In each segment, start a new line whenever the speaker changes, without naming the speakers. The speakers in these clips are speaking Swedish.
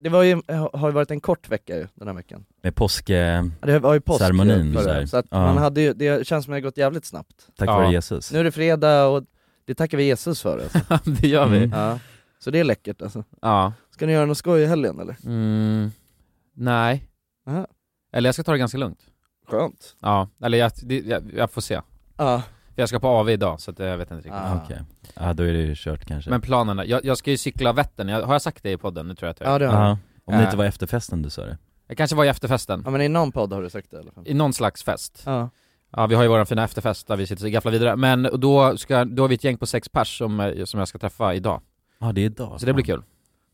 Det var ju, eh, har ju varit en kort vecka ju, den här veckan.
Med påsk, eh,
Ja, Det var ju påsk
Ceremonin,
ju, förra,
så här.
så att
Ja.
man hade ju, det känns som att det har gått jävligt snabbt.
tack
Ja.
vare Jesus.
Nu är det fredag och det tackar vi Jesus för alltså.
det gör vi.
Mm.
ja. Så det är läckert alltså.
Ja.
Ska ni göra något skoj i helgen eller?
Mm. Nej.
Aha.
Eller jag ska ta det ganska lugnt.
Skönt.
Ja, eller jag, det, jag, jag får se.
Ja.
Jag ska på AV idag så att jag vet inte riktigt.
Ah.
Okej, ja då är det ju kört kanske.
Men planerna, jag, jag ska ju cykla Vättern, jag, har jag sagt det i podden? Nu tror jag att jag
ja, Äh. det har
Ja.
jag.
Om det
Eh.
inte var efterfesten du sa det.
Jag kanske var i efterfesten,
Ja men i någon podd har du sagt det i alla fall.
i någon slags fest.
Ja.
Ja vi har ju våran fina efterfest där vi sitter och gafflar vidare, men och då, ska, då har vi ett gäng på sex pers som, eh, som jag ska träffa idag.
Ja det är idag.
Så det blir kul.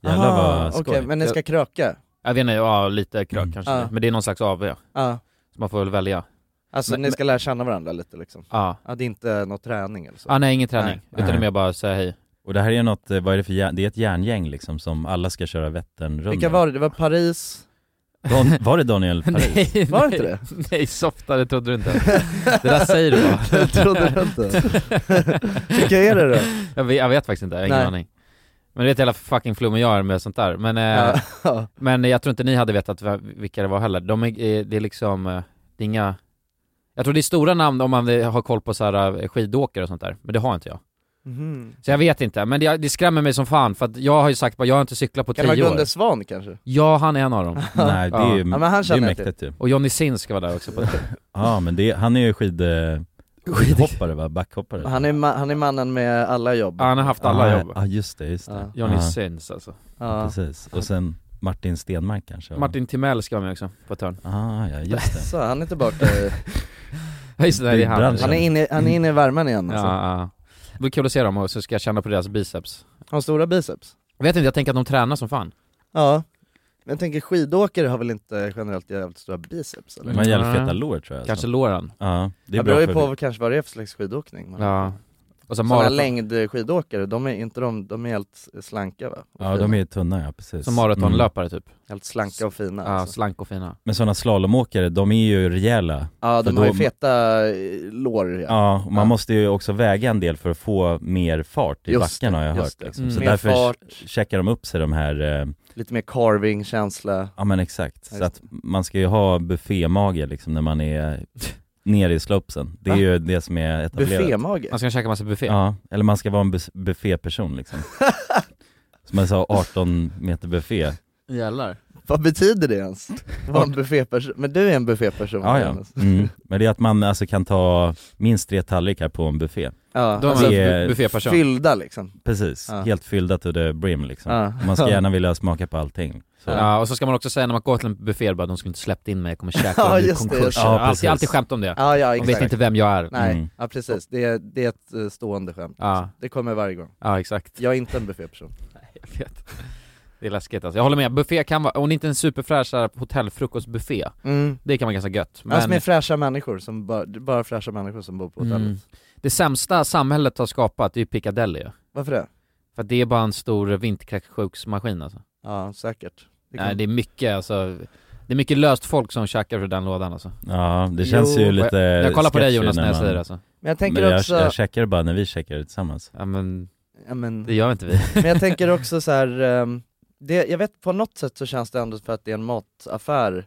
Jävlar
Aha,
vad skoj.
Okej, men ni ska kröka?
Jag vet inte, ja lite krök
Mm.
kanske,
Ja.
men det är någon slags AV ja.
Ja.
Så man får väl välja.
Alltså
Men-
ni ska lära känna varandra lite liksom?
Ja.
Ja, det är inte någon träning eller så?
Ah, nej ingen träning,
Nej.
utan det är mer bara säga hej.
Och det här är ju något, eh, vad är det för järn, det är ett järngäng liksom som alla ska köra Vätternrundan.
Vilka var det? Det var Paris?
Don, var det Daniel Paris?
Nej,
Var det
nej.
inte det?
Nej, softa det trodde du inte. Det där säger du bara.
Jag trodde det inte. Vilka är det då?
Jag vet, jag vet faktiskt inte, jag har ingen
Nej.
aning. Men du vet hela fucking flummen jag är med sånt där. Men, eh,
Ja.
men jag tror inte ni hade vetat v- vilka det var heller. De är, eh, det är liksom, eh, det är inga... Jag tror det är stora namn om man eh, har koll på så här eh, skidåkare och sånt där, men det har inte jag.
Mhm.
Så jag vet inte, men det, det skrämmer mig som fan för att jag har ju sagt bara, jag har inte cyklat på
Kan det vara
tio år.
Gunde Svan kanske?
Ja, han är en av dem.
Nej det är ju,
Ja, men han
det är ju
känner jag till.
mäktigt ju.
Och Johnny Sins ska vara där också. På det.
Ja men det, han är ju skid, eh, skidhoppare va? Backhoppare?
Han är, ma- han är mannen med alla jobb.
Ja, han har haft alla
ah,
jobb.
Ja just det, just det.
Johnny
Ja,
Sins alltså.
Ja.
Precis, och sen Martin Stenmark kanske? va?
Martin Timell ska vara med också, på ett hörn.
Ah, ja just det.
Så han är tillbaka i...
Ja, just det, det är han.
Byggbranschen.
Han är inne, han är inne i värmen igen alltså.
Ja, ja. Det blir kul att se dem och så ska jag känna på deras biceps.
Har han stora biceps?
Jag vet inte, jag tänker att de tränar som fan.
Alltså.
Ja. Men jag tänker skidåkare har väl inte generellt jävligt stora biceps eller?
De har jävligt
Nej.
feta lår tror jag.
Kanske
alltså.
låren.
Ja, Mm, det är
Det ja,
bra
beror ju
för...
på vad- kanske vad det är för slags skidåkning. Men...
Ja. Och så
Sådana
maraton,
längdskidåkare, de är inte de, de är helt slanka va? Och
Ja
fina.
de är ju tunna ja, precis.
som maratonlöpare typ.
Helt slanka och fina
Ja,
Mm. alltså.
slank och fina.
Mm. Men sådana slalomåkare, de är ju rejäla.
Ja,
för
de har ju
då-
feta eh, lår ja.
Ja, och man
Ja.
måste ju också väga en del för att få mer fart i
Just
backen
det,
har jag
just
hört.
det.
Liksom.
Mm.
Så
Mer
därför
fart,
checkar de upp sig de här, eh,
lite mer carving, känsla.
ja men exakt.
Ja,
Så
just
att man ska ju ha buffémage liksom när man är nere i slopesen. Det är
Va?
ju det som är etablerat.
Buffémage?
Man ska käka massa buffé.
Ja, eller man ska vara en bus- bufféperson liksom. Som jag sa, 18 meter buffé.
Jävlar.
Vad betyder det ens? Var en bufféperson? Men du är en bufféperson
Ja, ja.
Jonas.
Mm. Men det är att man alltså kan ta minst tre tallrikar på en buffé.
ja.
Då är
alltså,
man
det är
bu- bufféperson.
Fyllda liksom
Precis,
Ja.
helt fyllda to the brim liksom.
Ja.
Man ska gärna vilja smaka på allting. Så.
Ja, och så ska man också säga när man går till en buffé, bara de skulle inte släppt in mig, jag kommer käka
Ja,
och bli
just det,
konkurs.
just
det.
Ja,
Ja, precis.
alltid, alltid skämt om det.
Ja, ja
De
exakt
vet inte vem jag är.
Nej,
Mm.
ja precis, det är, det är ett eh, stående skämt
Ja,
Det kommer varje gång
ja exakt.
Jag är inte en bufféperson
Jag vet. Det är läskigt alltså. Jag håller med, buffé kan vara, om det inte är en superfräsch så här hotellfrukostbuffé,
mm.
det kan vara ganska gött. Men...
Alltså med fräscha människor, som bara, det är bara fräscha människor som bor på hotellet
Mm. Det sämsta samhället har skapat är ju Piccadilly ju.
Varför det?
För att det är bara en stor vinterkräksjuksmaskin alltså.
Ja, säkert Det kan-
Nej det är mycket alltså, det är mycket löst folk som tjackar för den lådan alltså.
Ja, det känns
Jo,
ju lite
Jag kollar på dig
sketchy
Jonas när jag
man-
säger det alltså.
Men jag tänker
Men jag,
också,
jag checkar bara när vi checkar det tillsammans.
Ja men,
ja, men,
det gör inte vi.
men jag tänker också så här. ehm, det, jag vet på något sätt så känns det ändå för att det är en mataffär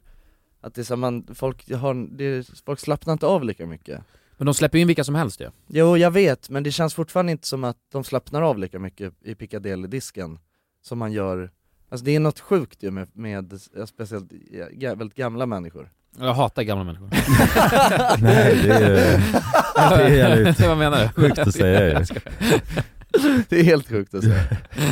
Att det är så här, man, folk, har, det, folk slappnar inte av lika mycket
Men de släpper ju in vilka som helst ju.
Jo, jag vet, men det känns fortfarande inte som att de slappnar av lika mycket i Piccadilly-disken som man gör Alltså det är något sjukt ju med, med eh, speciellt eh, ga- väldigt gamla människor
Jag hatar gamla människor.
Nej, det är ju det är jävligt
Vad menar du?
sjukt att säga ju.
Det är helt sjukt att säga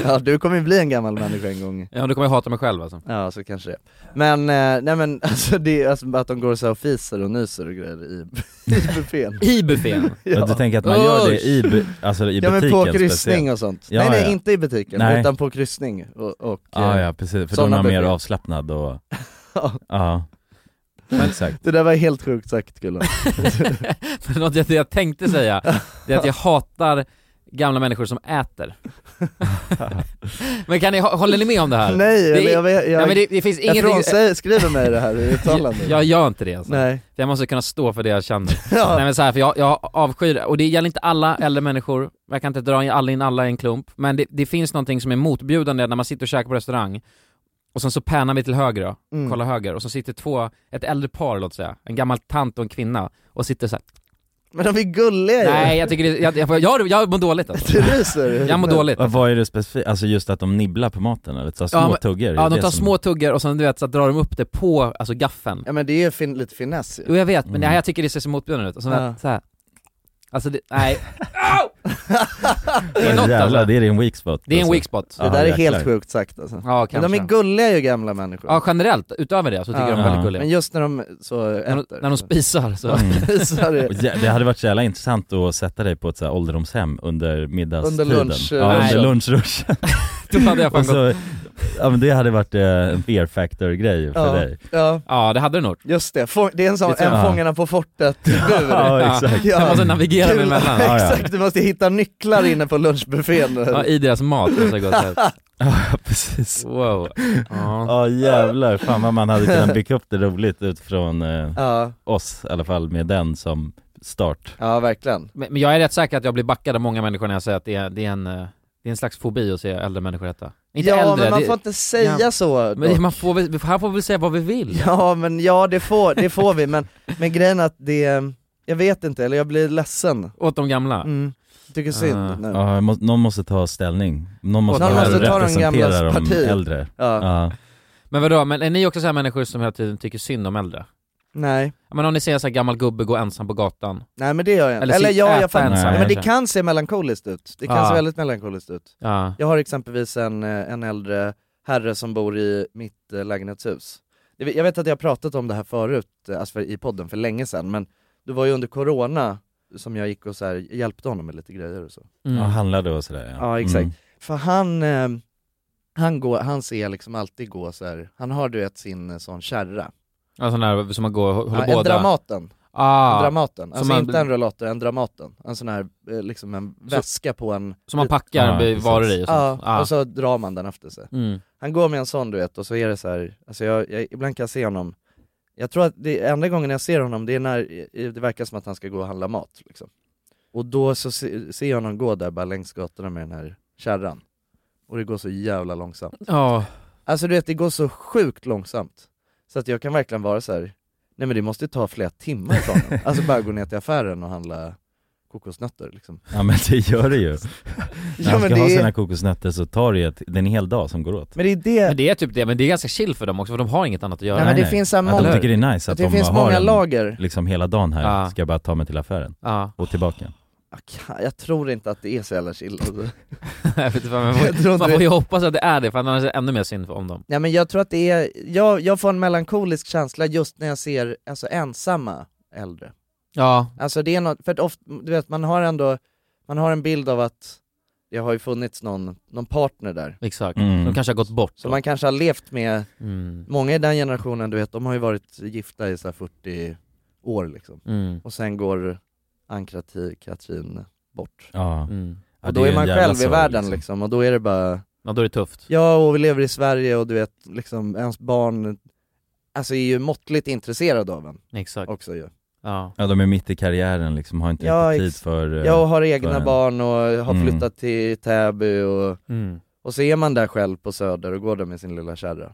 Ja, du kommer ju bli en gammal människa en gång
Ja nu kommer jag hata mig själv alltså.
Ja, så kanske det Men, eh, nej men alltså det är alltså att de går så här och fiser och nyser och grejer i, i buffén
I buffén.
Ja. Du
Ja,
tänker att man gör det i, bu- alltså i butiken
ja men på
speciellt?
kryssning och sånt
Ja,
Nej nej,
ja.
inte i butiken,
Nej.
utan på kryssning och, och
Ja,
eh,
ja precis, för då är
Såna
man mer
buffé.
avslappnad och,
Ja.
ja. Exakt.
Det där var helt sjukt sagt Kulan
Men något jag, det jag tänkte säga, det är att jag hatar gamla människor som äter. Men kan ni, håller ni med om det här?
Nej,
Det är-
eller jag, vet- jag,
Nej men det, det finns
jag,
ingenting...
frånsäger- skriver mig det här i uttalandet.
Jag, jag gör inte det alltså.
Nej.
För jag måste kunna stå för det jag känner.
Ja.
Nej men så här, för jag, jag avskyr det. Och det gäller inte alla äldre människor, jag kan inte dra in alla, in alla i en klump. Men det, det finns någonting som är motbjudande när man sitter och käkar på restaurang Och sen så pannar vi till höger då,
Mm.
kolla höger, och så sitter två, ett äldre par låt säga, en gammal tant och en kvinna, och sitter så här.
Men de är gulliga ju!
Nej jag tycker det, jag, jag, jag, jag mår dåligt alltså.
Du ryser!
Jag mår dåligt.
Vad, vad är det specifikt? Alltså just att de nibblar på maten eller? Så små
Ja, men-
tuggar? är
Ja
det
de tar
som-
små tuggar och sen du vet så drar de upp det på, alltså gaffeln.
Ja men det är ju fin, lite finess ju.
Jo jag vet, men
Mm.
det här, jag tycker det ser så motbjudande ut, och så,
Ja.
så här. Alltså det, nej. Au! det är något
Jävlar,
alltså.
det är din weak spot
Det är en
alltså.
weak spot.
Det
Ja,
där är
jäklar.
helt sjukt sagt alltså.
Ja
Men de
kanske.
är gulliga ju gamla människor.
Ja generellt, utöver det så tycker
Ja.
jag de är väldigt
Ja.
gulliga.
men just när de så
När de,
äter.
när de spisar så.
Mm.
spisar
Och
det.
jä- Det hade varit så jävla intressant att sätta dig på ett så här ålderdomshem under middagstiden
Under lunch-
ja,
Nej.
under lunchrushen
Då hade jag fan
Och
gått.
så, ja men det hade varit eh, en fear factor grej för
Ja.
dig
Ja,
Ja det hade du nog.
just det. Få- det är en sån,
Det är så-
en
Ja.
Fångarna på fortet-bur.
Ja exakt,
Jag måste navigera mig
Kul.
emellan.
Ja, ja.
Exakt, du måste hitta nycklar inne på lunchbuffén.
Ja, I deras mat måste jag gå och säga.
ja precis
Wow. Ja.
Ja jävlar, fan vad man hade kunnat bygga upp det roligt utifrån eh,
Ja,
oss i alla fall med den som start
ja verkligen.
Men, men jag är rätt säker att jag blir backad av många människor när jag säger att det är, det är, en, eh, det är en slags fobi att se äldre människor äta. Inte
ja
äldre,
men man
det,
får inte säga
Ja.
så.
men
dock.
det- man får väl, här får vi väl säga vad vi vill.
Ja men ja det får, det får vi, men, men grejen är att det, jag vet inte, eller jag blir ledsen.
Åt de gamla.
Mm. Tycker synd
Ah.
nu.
Ja, må, någon måste ta ställning, någon måste,
Någon måste
ta de
representera
gamlas
de
parti.
äldre
Ja.
Ja,
Men vadå, men är ni också så här människor som hela tiden tycker synd om äldre?
Nej.
Ja, Men om ni ser en sån här gammal gubbe gå ensam på gatan.
Nej men det gör jag inte.
Eller
Eller
sit-
ja,
äta
jag fattar.
ensam
Nej, men det
kanske.
kan se melankoliskt ut. Det kan
Ah.
se väldigt melankoliskt ut.
Ja.
Jag har exempelvis en, eh, en äldre herre som bor i mitt eh, lägenhetshus. Jag vet- Jag vet att jag har pratat om det här förut, eh, alltså för, i podden för länge sedan, men det var ju under corona som jag gick och så här, hjälpte honom med lite grejer och så.
Mm.
ja Mm. handlade och sådär
Ja, exakt. För han, eh, han, går, han ser liksom alltid gå så här. han har du vet sin eh, sån kärra.
En sån där som man går och hå- håller
Ja, en
båda.
Dramaten. En
Ah,
Dramaten. Alltså
man-
inte en rullator, en Dramaten. En sån här, eh, liksom en väska på en...
som man packar
Ja,
varor
precis.
i och
ja,
sånt. Ah.
och så drar man den efter sig.
Mm.
Han går med en sån du vet, och så är det så här. alltså jag, jag, ibland kan jag se honom jag tror att det enda gången jag ser honom, det är när det verkar som att han ska gå och handla mat liksom. Och då så se, ser jag honom gå där bara längs gatorna med den här kärran. Och det går så jävla långsamt.
Ja.
Alltså du vet, det går så sjukt långsamt. Så att jag kan verkligen vara så här. nej men det måste ta flera timmar från honom. Alltså bara gå ner till affären och handla kokosnötter liksom.
Ja men det gör det ju. När
Ja
han
men
ska ha
det,
sina
är,
kokosnötter så tar det ju ett, det är en hel dag som går åt.
men det är
Men
det,
det är typ det, men det är ganska chill för dem också för de har inget annat att göra.
nej men det finns så här
Att de
många,
tycker det är nice att
det
de
finns
har
många
en,
lager.
liksom hela dagen här,
Ja.
ska jag bara ta mig till affären
Ja.
och tillbaka.
Jag kan- Jag tror inte att det är så jävla chill alltså.
Jag vet inte, man,
Jag tror
får,
inte
man
det.
får ju hoppas att det är det, för annars är det ännu mer synd om dem.
Nej men jag tror att det är, jag, jag får en melankolisk känsla just när jag ser alltså, ensamma äldre.
Ja.
Alltså det är något, för att ofta, du vet man har ändå, man har en bild av att det har ju funnits någon, någon partner där.
Exakt.
Mm.
De kanske har gått bort.
Så
då.
man kanske har levt med,
Mm.
många i den generationen du vet, de har ju varit gifta i så här 40 år liksom.
Mm.
Och sen går Ann-Katrin bort.
Ja.
Mm.
Ja,
och
det
då är
ju
man
en jävla
själv i
sorg,
världen liksom, och då är det bara
Ja, då är det tufft.
Ja, och vi lever i Sverige och du vet, liksom, ens barn alltså, är ju måttligt intresserade av en
Exakt.
också ju.
Ja.
Ja de är mitt i karriären liksom, har inte
Ja,
riktigt
ex-
tid för... eh,
Jag har egna
Skönt.
barn och har
Mm.
flyttat till Täby och,
Mm.
och så är man där själv på Söder och går där med sin lilla kärra.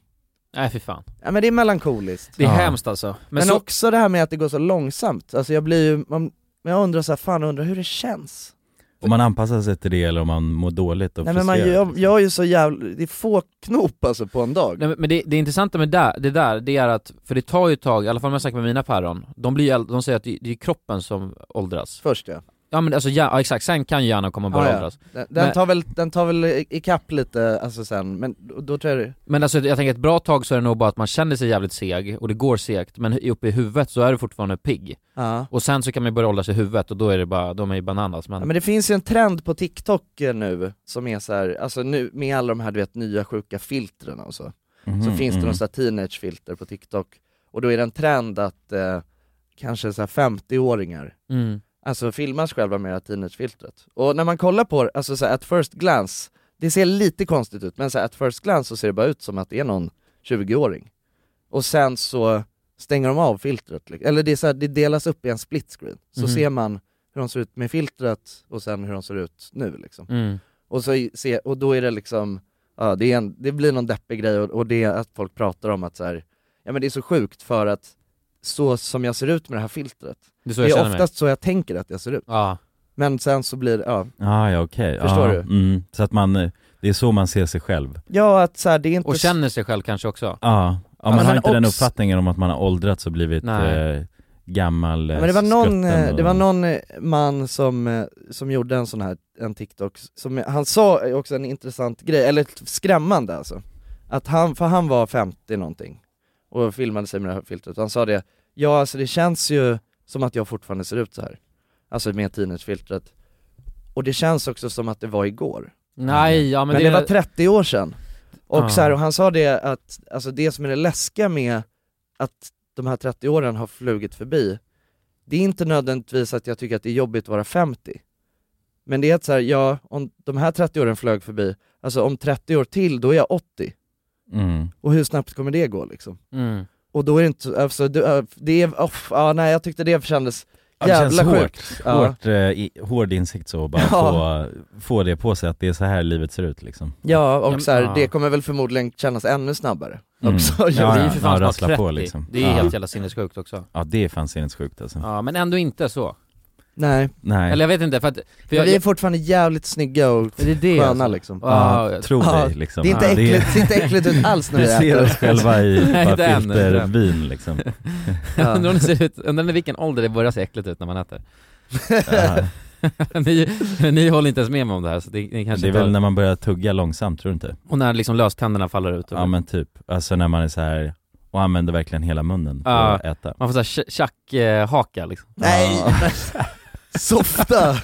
Nej fy fan.
Ja men det är melankoliskt.
Det är
Ja.
hemskt alltså. Men,
Men,
så,
också det här med att det går så långsamt, alltså jag blir ju, man, men jag undrar så här, fan jag undrar hur det känns?
Om man anpassar sig till det eller om man mår dåligt och
Nej men man,
frustrerad,
jag,
liksom.
jag är ju så jävla, det är få knop alltså på en dag.
Nej, men det, det intressanta med det, det där, det är att, för det tar ju ett tag, i alla fall om jag snackar med mina päron, de, blir, ju äldre- de säger att det det är kroppen som åldras.
Först ja.
Ja men alltså, ja, ja, exakt, sen kan ju hjärnan komma och börja
Ah, Ja, ja.
åldras.
Den, den,
Men-
tar väl, den tar väl i- ikapp lite, alltså sen, men då, då tror jag det
Men alltså jag tänker ett bra tag så är det nog bara att man känner sig jävligt seg, och det går segt, men hu- uppe i huvudet så är du fortfarande pigg.
ja.
Och sen så kan man ju börja åldras i huvudet och då är det bara, de är ju bananas men...
Ja, men det finns ju en trend på TikTok eh, nu som är så här, alltså nu med alla de här du vet nya sjuka filtren och så,
Mhm,
Mm,
så finns det
mhm.
någon sån här teenagefilter på TikTok och då är det en trend att eh, kanske så här 50-åringar
Mm.
alltså filmas själva med det här teenagefiltret. Och när man kollar på det, alltså så här, at first glance, det ser lite konstigt ut men så här, at first glance så ser det bara ut som att det är någon 20-åring. Och sen så stänger de av filtret, li- eller det, är så här, det delas upp i en split screen, så
Mhm.
ser man hur de ser ut med filtret och sen hur de ser ut nu liksom.
Mm.
Och, så i- se, och då är det liksom ja, det, är en, det blir någon deppig grej och, och det är att folk pratar om att så här, ja men det är så sjukt för att så som jag ser ut med det här filtret,
Det är så
det
jag
är
känner mig.
oftast så jag tänker att jag ser ut.
Ja.
Men sen så blir det, ja,
Ah, ja, okej.
Förstår
ah,
du?
Mm. Så att man, eh, det är så man ser sig själv.
ja att så här, det är inte
Och
s-
känner sig själv kanske också.
Ja, ah. ah, man
men
har inte den
också-
uppfattningen om att man har åldrats och blivit
Nej.
eh, gammal, eh,
Men det var någon,
skutten
eh,
och...
det var någon eh, man som, eh, som gjorde en sån här, en TikTok, som, han sa eh, också en intressant grej, eller t- skrämmande alltså. Att han, för han var 50 någonting och filmade sig med det här filtret, han sa det, ja alltså det känns ju som att jag fortfarande ser ut så här. Alltså med teenagefiltret. Och det känns också som att det var igår.
Nej, ja men,
Men, det, var 30 år sedan. Och,
Ja.
så här, och han sa det att, alltså det som är det läskiga med att de här 30 åren har flugit förbi, det är inte nödvändigtvis att jag tycker att det är jobbigt att vara 50. Men det är att så här, ja, om de här 30 åren flög förbi, alltså om 30 år till, då är jag 80.
Mm.
Och hur snabbt kommer det gå liksom?
mm.
Och då är det inte, så- alltså, det, det är, off, ja nej jag tyckte det kändes
Ja, det
jävla
känns hårt.
sjukt. Ja.
Hårt, eh, i, hård insikt så, bara
Ja.
få, få det på sig att det är så här livet ser ut liksom.
Ja,
Ja,
och
men-
så här,
ja.
det kommer väl förmodligen kännas ännu snabbare
Mm.
också.
Ja,
det är ju
ja.
för fan snart
rassla
30.
på, liksom.
Det är ju
Ja.
helt jävla sinnessjukt också.
Ja det är fan sinnessjukt alltså.
Ja, men ändå inte så.
Nej,
Nej,
Eller jag vet inte, för att... För
men
jag,
vi är fortfarande jävligt snygga och
det är det
sköna
alltså.
liksom
ja,
Ja,
tro
Ja,
dig liksom.
Det är inte
Ja,
äckligt, ser inte äckligt ut alls när
Vi
vi
ser oss
äter
själva i
Nej, den,
filtervin liksom.
Ja.
Undrar om det ser ut, undrar i vilken ålder det börjar se äckligt ut när man äter.
Ja.
ni, ni håller inte ens med mig om det här så det, ni kanske
Det är
inte-
väl när man börjar tugga långsamt, tror du inte?
Och när liksom löständerna faller ut. Och
Ja men typ, alltså när man är så här och använder verkligen hela munnen för
Ja.
att äta.
Man får såhär tjack-haka liksom.
Nej! Softa!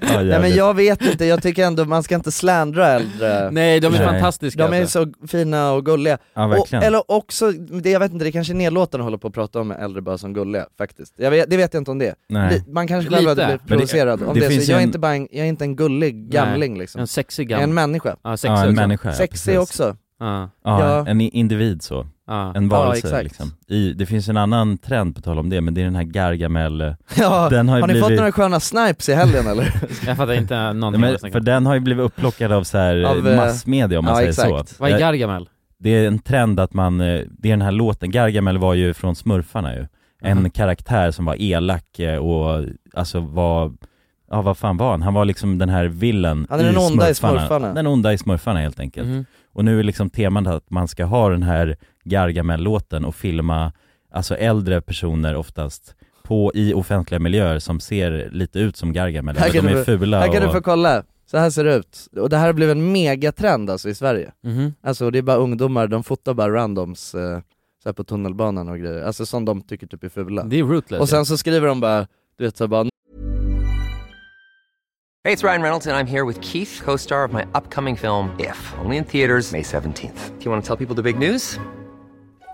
Ja,
Nej men jag vet inte, jag tycker ändå man ska inte slandra äldre
Nej, de är
Nej.
fantastiska
De är
alltså.
så fina och gulliga,
ja
och,
verkligen.
eller också, det, jag vet inte, det kanske är nedlåtande att hålla på och prata om äldre bara som gulliga faktiskt jag vet, Det vet jag inte om det,
Nej.
Li- man kanske själv hade
Lite.
blivit
Men det-
provocerad om
det
det,
finns
så
ju
jag är,
en-
inte bara en, jag är inte en gullig gamling liksom,
En sexig
jag är en
gam...
människa,
Ja, sexig
Ja, en
också.
människa. ja,
sexig
precis.
också,
Ja,
Ja,
Ja.
en i- individ så.
ja.
En varelse
exakt.
liksom. I, det finns en annan trend på tal om det, men det är den här Gargamel, eh,
ja,
den har ju
har ni
blivit...
fått några sköna snipes i helgen eller?
Jag fattar inte
Nej,
någonting vad jag
men,
snackar
för
om.
den har ju blivit upplockad av så här
Av, eh,
massmedia om man
ja,
säger
exakt.
så. Eh,
Vad är Gargamel?
det är en trend att man, eh, det är den här låten, Gargamel var ju från Smurfarna ju. En
Mhm.
karaktär som var elak eh, och alltså var, ja vad fan var han? Han var liksom den här villen
Han är den onda i Smurfarna.
Den onda i Smurfarna helt enkelt.
Mhm.
Och nu är liksom temat att man ska ha den här Gargamel-låten och filma, alltså äldre personer oftast, på, i offentliga miljöer som ser lite ut som Gargamel,
Här
eller
kan
de
du-
är fula
Här kan du
och...
få kolla, så här ser det ut. Och det här har blivit en megatrend alltså i Sverige.
Mhm.
Alltså det är bara ungdomar, de fotar bara randoms eh, så här på tunnelbanan och grejer, alltså som de tycker typ är fula.
Det är rootless.
Och sen så skriver de bara, du vet såhär bara
Hey, it's Ryan Reynolds, and I'm here with Keith, co star of my upcoming film, If, only in theaters, May 17th. Do you want to tell people the big news?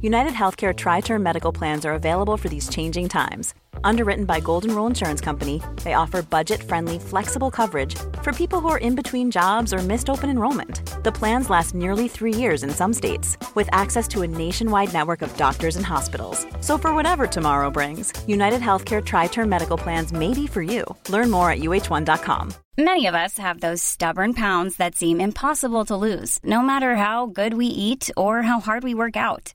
United Healthcare Tri Term Medical Plans are available for these changing times. Underwritten by Golden Rule Insurance Company, they offer budget friendly, flexible coverage for people who are in between jobs or missed open enrollment. The plans last nearly three years in some states, with access to a nationwide network of doctors and hospitals. So, for whatever tomorrow brings, United Healthcare Tri Term Medical Plans may be for you. Learn more at uh1.com.
Many of us have those stubborn pounds that seem impossible to lose, no matter how good we eat or how hard we work out.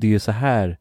det är ju så här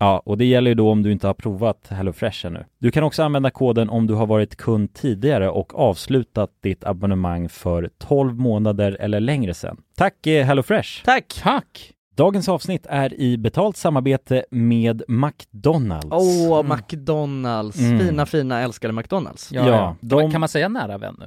Ja, och det gäller ju då om du inte har provat HelloFresh ännu. Du kan också använda koden om du har varit kund tidigare och avslutat ditt abonnemang för 12 månader eller längre sedan. Tack eh, HelloFresh!
Tack! Tack!
Dagens avsnitt är i betalt samarbete med McDonalds.
Åh, McDonalds,
Mm.
fina fina älskade McDonalds.
Ja,
Ja,
ja. Kan,
de-
man, kan man säga nära vän nu?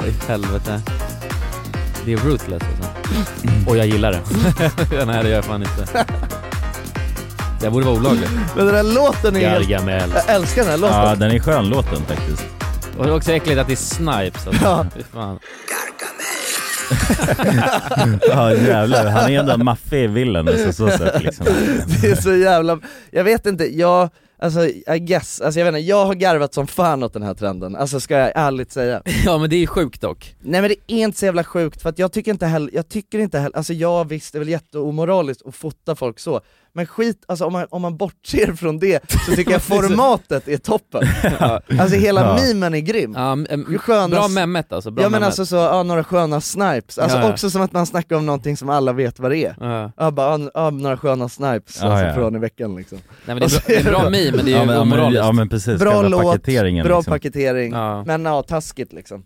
Vad i helvete. Det är rootless alltså.
Mm.
Och jag gillar det. Nej det gör jag fan inte. Det här borde vara olagligt.
Men den här låten är helt...
Gargamel.
Jag älskar den här låten.
den är skön låten faktiskt.
Och det är också äckligt att det är snipes alltså.
Ja.
Fy fan.
Ja jävlar, han är ändå en maffivillen alltså, så sett liksom.
Det är så jävla, jag vet inte, jag, alltså I guess, alltså jag vet inte, jag har garvat som fan åt den här trenden, alltså ska jag ärligt säga.
Ja men det är sjukt dock.
Nej men det är inte så jävla sjukt för att jag tycker inte heller, jag tycker inte heller, alltså jag visst det är väl jätteomoraliskt att fota folk så, men skit, alltså om man, om man bortser från det så tycker jag formatet är toppen. Alltså hela
Ja.
memen är grym.
Ja, m- m-
Ju sköna-
bra memet alltså, bra
Ja men
memet.
alltså så, ja, några sköna snipes, alltså
Ja, ja.
också som att man snackar om någonting som alla vet vad det är.
Ja.
Ja bara, ja, ja, några sköna snipes
Ja,
alltså,
ja.
från i veckan liksom.
Nej men det är, bra, det är bra meme men det är ju
Ja men, ja, men,
omoraliskt.
ja, men precis,
Bra
själva
låt, bra
paketeringen liksom.
paketering,
Ja.
men ja, taskigt liksom.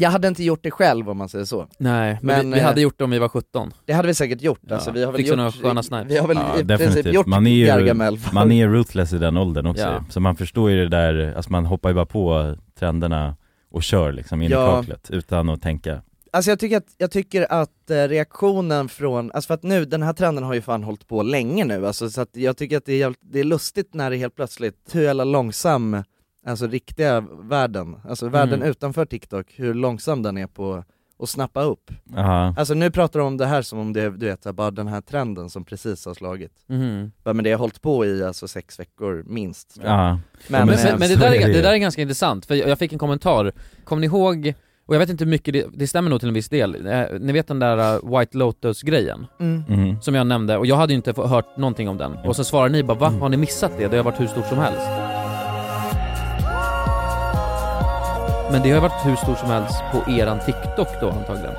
Jag hade inte gjort det själv om man säger så.
Nej, men,
Men,
vi, vi
eh,
hade gjort det om vi var 17.
Det hade vi säkert gjort, alltså,
Ja,
vi har väl
fixa
gjort,
några sköna snipes.
vi har väl
Ja,
i princip
definitivt.
gjort
Man är ju-
Gargamel.
Man är ruthless i den åldern också
Ja.
så man förstår ju det där, alltså man hoppar ju bara på trenderna och kör liksom in
Ja.
i kaklet utan att tänka.
Alltså jag tycker att, jag tycker att eh, reaktionen från, alltså för att nu, den här trenden har ju fan hållit på länge nu alltså, så att jag tycker att det är, jävligt, det är lustigt när det helt plötsligt, hur jävla långsam, alltså riktiga världen, alltså världen
Mm.
utanför TikTok, hur långsam den är på att snappa upp.
Aha.
Alltså nu pratar de om det här som om det, du vet, så här, bara den här trenden som precis har slagit.
Mhm.
Ja, Men det har hållit på i alltså sex veckor minst. tror jag.
Ja.
Men,
Men,
men-
men, men det,
så
där
är det
är,
ju.
det där är ganska intressant, för jag jag fick en kommentar, kommer ni ihåg, och jag vet inte hur mycket, det, det stämmer nog till en viss del, eh, ni vet den där eh, White Lotus-grejen?
mm.
Mhm.
Som jag nämnde, och jag hade ju inte få- hört någonting om den. Och så svarar ni bara va?
Mm.
Har ni missat det? Det har varit hur stort som helst. Men det har ju varit hur stort som helst på eran TikTok då antagligen.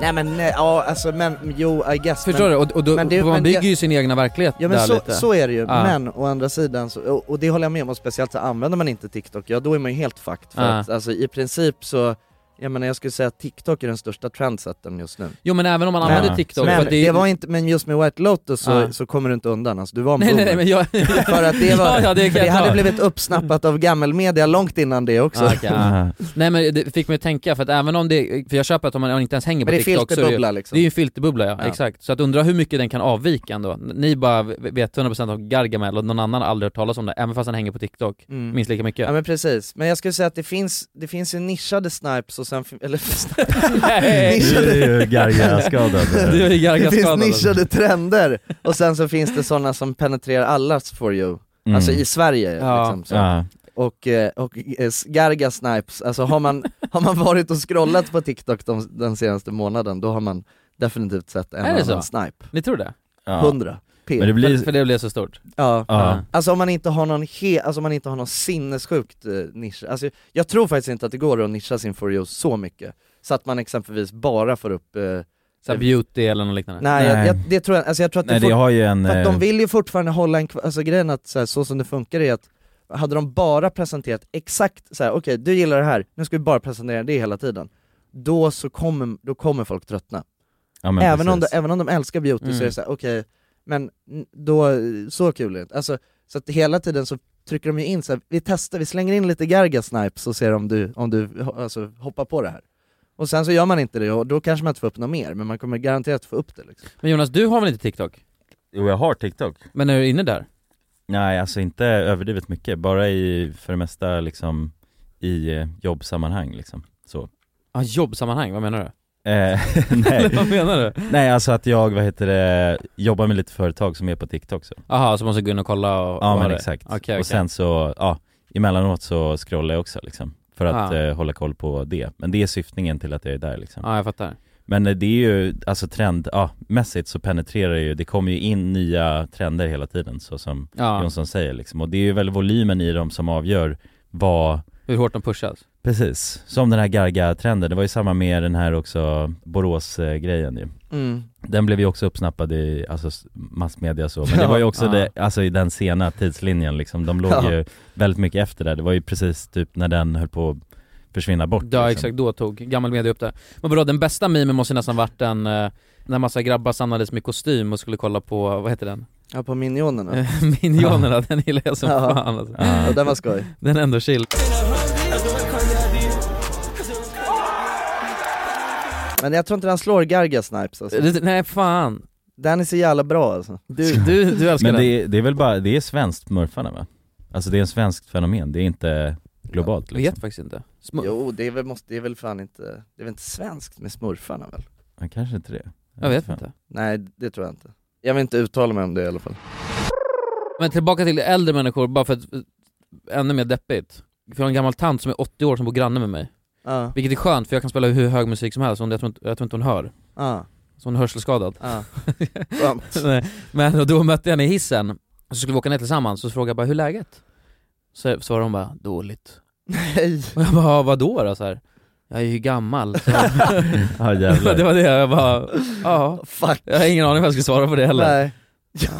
Nej men nej, ja alltså men jo I guess
Förstår
men,
du? Och, och då,
men det-
man
men
bygger
det-
ju sin egna verklighet
Ja men
där
så,
lite.
så är det ju,
Ja.
men å andra sidan så, och, och det håller jag med om, och speciellt så använder man inte TikTok, ja då är man ju helt fucked för
Ja.
att alltså i princip så jag menar jag skulle säga att TikTok är den största trendsettern just nu.
Jo men även om man
Men-
använder TikTok, för
men,
att
det var inte, men just med White Lotus så,
Ja.
så kommer du inte undan, alltså, du var en
Nej nej
boomer.
nej men jag...
För att det, var,
ja, ja, det
för
kan
det
jag
hade
ta.
blivit uppsnappat av gammelmedia långt innan det också.
Ah, okej, ja.
Aha.
Nej men det fick mig att tänka, för att även om det, för jag köper att om man inte ens hänger på
Men det är
TikTok så är det,
filterbubbla
det är
liksom.
ju en filterbubbla ja,
Ja.
exakt. Så att undra hur mycket den kan avvika ändå. Ni bara vet 100% om Gargamel och någon annan har aldrig hört talas om det, även fast han hänger på TikTok
Mm.
minst lika mycket.
Ja men precis, men jag skulle säga att det finns, det finns ju nischade snipes och sen, fin- eller snipes,
Nej.
Du
nischade,
är ju gargaskadad.
Du är ju
det finns
Gargaskadad. alltså.
nischade trender och sen så finns det sådana som penetrerar allas for you,
Mm.
alltså i Sverige
Ja.
liksom, så.
Ja.
Och, eh, och eh, garga snipes, alltså har man, har man varit och scrollat på TikTok de, den senaste månaden då har man definitivt sett en
Är det så?
annan snipe,
Ni tror det?
Ja.
100 p.
Men det blir,
För, för det blev så stort?
Ja.
ja.
Alltså om man inte har någon he- alltså om man inte har någon sinnessjukt eh, nisch, alltså jag tror faktiskt inte att det går att nischa sin For You så mycket Så att man exempelvis bara får upp, eh, nej,
Så här beauty eller något liknande?
Jag,
Nej.
jag, det tror jag, alltså jag tror att
Nej
det,
det
fort-
har ju en...
för att de
eh,
vill ju fortfarande hålla en, kva- alltså grejen att så, här, så som det funkar är att hade de bara presenterat exakt så här: okej du gillar det här, nu ska vi bara presentera det hela tiden Då så kommer, då kommer folk tröttna
ja, men
även, om de,
precis.
även om de älskar beauty så
Mm.
är det såhär, okej, men n- då, så kul är det inte. Alltså, så att hela tiden så trycker de ju in såhär, vi testar, vi slänger in lite Garga Snipes och ser om du, om du ho- alltså, hoppar på det här. Och sen så gör man inte det och då kanske man inte får upp något mer, men man kommer garanterat få upp det liksom.
Men Jonas, du har väl inte TikTok?
Jo jag har TikTok.
Men är du inne där?
Nej alltså inte överdrivet mycket, bara i, för det mesta liksom i eh, jobbsammanhang liksom. Så.
Ah, jobbsammanhang, vad menar du?
Eh,
Eller vad
nej.
menar du?
nej alltså att jag, vad heter det, jobbar med lite företag som är på TikTok så.
Jaha, så måste jag gå in och kolla och... och
Ja
ha
men
det.
exakt.
Okej, okej.
Och sen så, ja, emellanåt så scrollar jag också liksom. För att
Ah.
eh, hålla koll på det. Men det är syftningen till att jag är där liksom.
Ja, jag fattar.
Men eh, det är ju, alltså trend, ja, mässigt så penetrerar ju, det kommer ju in nya trender hela tiden så som
Ja,
Jonsson säger liksom. Och det är ju väl volymen i dem som avgör vad
hur hårt de pushas.
Precis, som den här Garga-trenden, det var ju samma med den här också Borås-grejen ju
Mm.
Den blev ju också uppsnappad i alltså, s- massmedia så, men det var ju också
Ja.
det, alltså, i den sena tidslinjen liksom, de låg
Ja.
ju väldigt mycket efter där, det var ju precis typ när den höll på att försvinna bort
Ja
liksom.
exakt, då tog gammal media upp det. Men vadå, den bästa memen måste ju nästan varit den eh, när massa grabbar samlades med kostym och skulle kolla på, vad heter den?
Ja, på minionerna.
Minionerna, den gillar jag som
Ja.
fan alltså.
Ja.
Och den var skoj.
Den är ändå chill.
Men jag tror inte den slår Garga Snipes alltså.
Det- Nej fan,
Den är så jävla bra alltså.
du, du, du älskar
Men
den.
det, är- det är väl bara, det är svenskt murfarna va? Alltså det är en svenskt fenomen, det är inte globalt
Jag
liksom.
vet faktiskt inte.
Jo, det är väl, måste, det är väl fan inte, det är väl inte svenskt med smurfarna väl?
Ja, kanske inte det.
Jag vet
fan.
inte.
Nej, det tror jag inte. Jag vill inte uttala mig om det i alla fall.
Men tillbaka till äldre människor, bara för att, eh, ännu mer deppigt. För jag har en gammal tant som är 80 år som bor granne med mig.
Ja,
Vilket är skönt för jag kan spela hur hög musik som helst, hon, jag, tror inte, jag tror inte hon hör.
ja,
Så hon är hörselskadad.
ja. Skönt.
Nej, Men och då mötte jag henne i hissen, och så skulle vi åka ner tillsammans, så frågade jag bara hur är läget? Så svarade hon bara 'dåligt'
Nej.
Och jag bara 'vadå då?' Så här, jag är ju gammal, så
Ja
det
jävlar.
var det, jag bara 'ja'
Fuck.
Jag har ingen aning vad jag skulle svara på det heller.
Nej.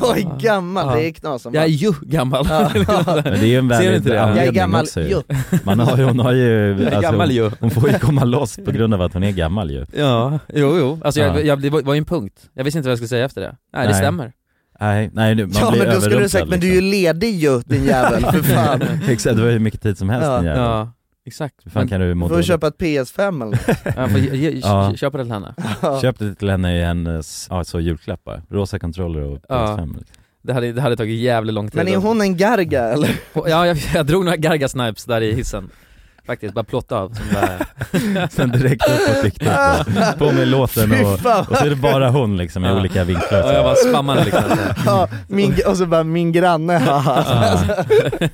Jag är gammal,
Ja.
det är knas som
Jag är
fan.
ju gammal.
Ja.
Men det är ju en
Ser du
väldigt
inte det?
Jag är
anledning
gammal,
också ju.
jo.
Man har ju, hon har ju,
Jag är
alltså,
gammal
hon,
ju.
hon får ju komma loss på grund av att hon är gammal ju.
Ja, jo jo. Alltså
Ja.
jag, jag, det var var ju en punkt. Jag visste inte vad jag skulle säga efter det. Nej, det
Nej.
stämmer.
Nej, nej nu- man
Ja
blir
men då skulle du
överrumplad,
sagt, men du är ju ledig ju din jävel, för fan.
Exakt, det var hur mycket tid som helst
Ja.
din jävel.
Ja, exakt.
Hur fan
Men,
kan du må
Får du
dåligt?
köpa ett PS5 eller något?
jag får ge- ge-
Ja.
kö- köpa det till henne.
Ja.
Köp det till henne i hennes, ja så julklappar, rosa controller och
Ja.
PS5 liksom.
Det hade, det hade tagit jävligt lång tid.
Men är hon en garga eller?
Ja, jag, jag drog några gargasnipes där i hissen. Faktiskt, bara plotta av. Som bara...
Sen direkt upp på TikTok bara. på med låten
Fy
och,
fan.
och så är det bara hon liksom i
Ja.
olika vinklar
Ja, jag
så.
bara spammade liksom.
Ja, min, och så bara min granne, haha.
Ja.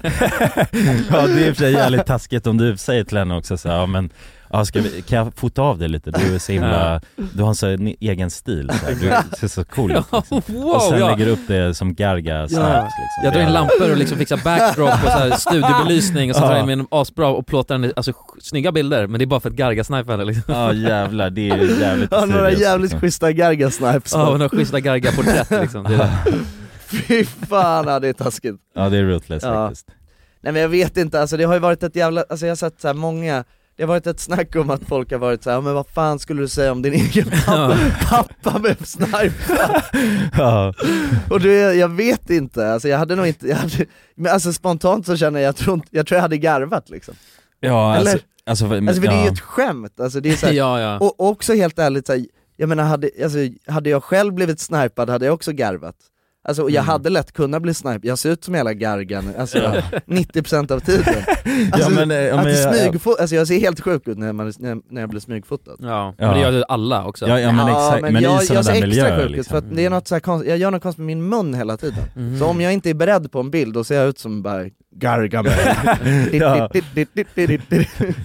ja det är i och för sig jävligt taskigt om du säger till henne också så här, ja men Ja, ska vi, kan jag fota av dig lite? Du är så himla, du har en sån egen stil, så här. du ser så cool ut liksom. Och
Wow,
sen
ja.
lägger du upp det som garga snaps liksom.
Jag
Det
drar
är
in
alla-
lampor och liksom fixar backdrop och så här studiobelysning och så
Ja.
tar jag in min asbra och plåtar den, alltså snygga bilder men det är bara för att gargasnipa henne liksom.
Ja jävlar, det är ju jävligt
Ja, några
seriöst,
jävligt
liksom.
schyssta gargasnipes.
Ja, och några schyssta gargaporträtt liksom. Det är det.
Fy fan, ja, det är taskigt.
Ja det är rootless
Ja.
faktiskt
Nej men jag vet inte, alltså det har ju varit ett jävla, alltså jag har sett så här många det har varit ett snack om att folk har varit såhär, men vad fan skulle du säga om din egen pappa, pappa med sniper?
Ja,
Och du, jag vet inte, alltså jag hade nog inte, jag hade, men alltså spontant så känner jag, jag tror, inte, jag tror jag hade garvat liksom.
ja
Eller?
alltså, alltså, men-
Alltså för det är ju
ja.
ett skämt, alltså det är så här,
Ja, ja.
och också helt ärligt så här, jag menar hade, alltså, hade jag själv blivit snipad hade jag också garvat. Alltså och jag hade lätt kunnat bli snipad, jag ser ut som hela gargan, alltså 90% av tiden. Alltså,
men, eh,
att
men jag-
smygfo- alltså jag ser helt sjuk ut när, man, när, när jag blir smygfotad.
Ja,
Ja.
men det gör ju alla också.
Ja, ja men
Ja,
exakt, men,
jag,
i
jag
sådana
ser
där
extra
miljöer
sjuk ut för
liksom.
att det är något så här konst, jag gör något konstigt med min mun hela tiden.
Mhm.
Så om jag inte är beredd på en bild då ser jag ut som bara Gargamel.
Ja.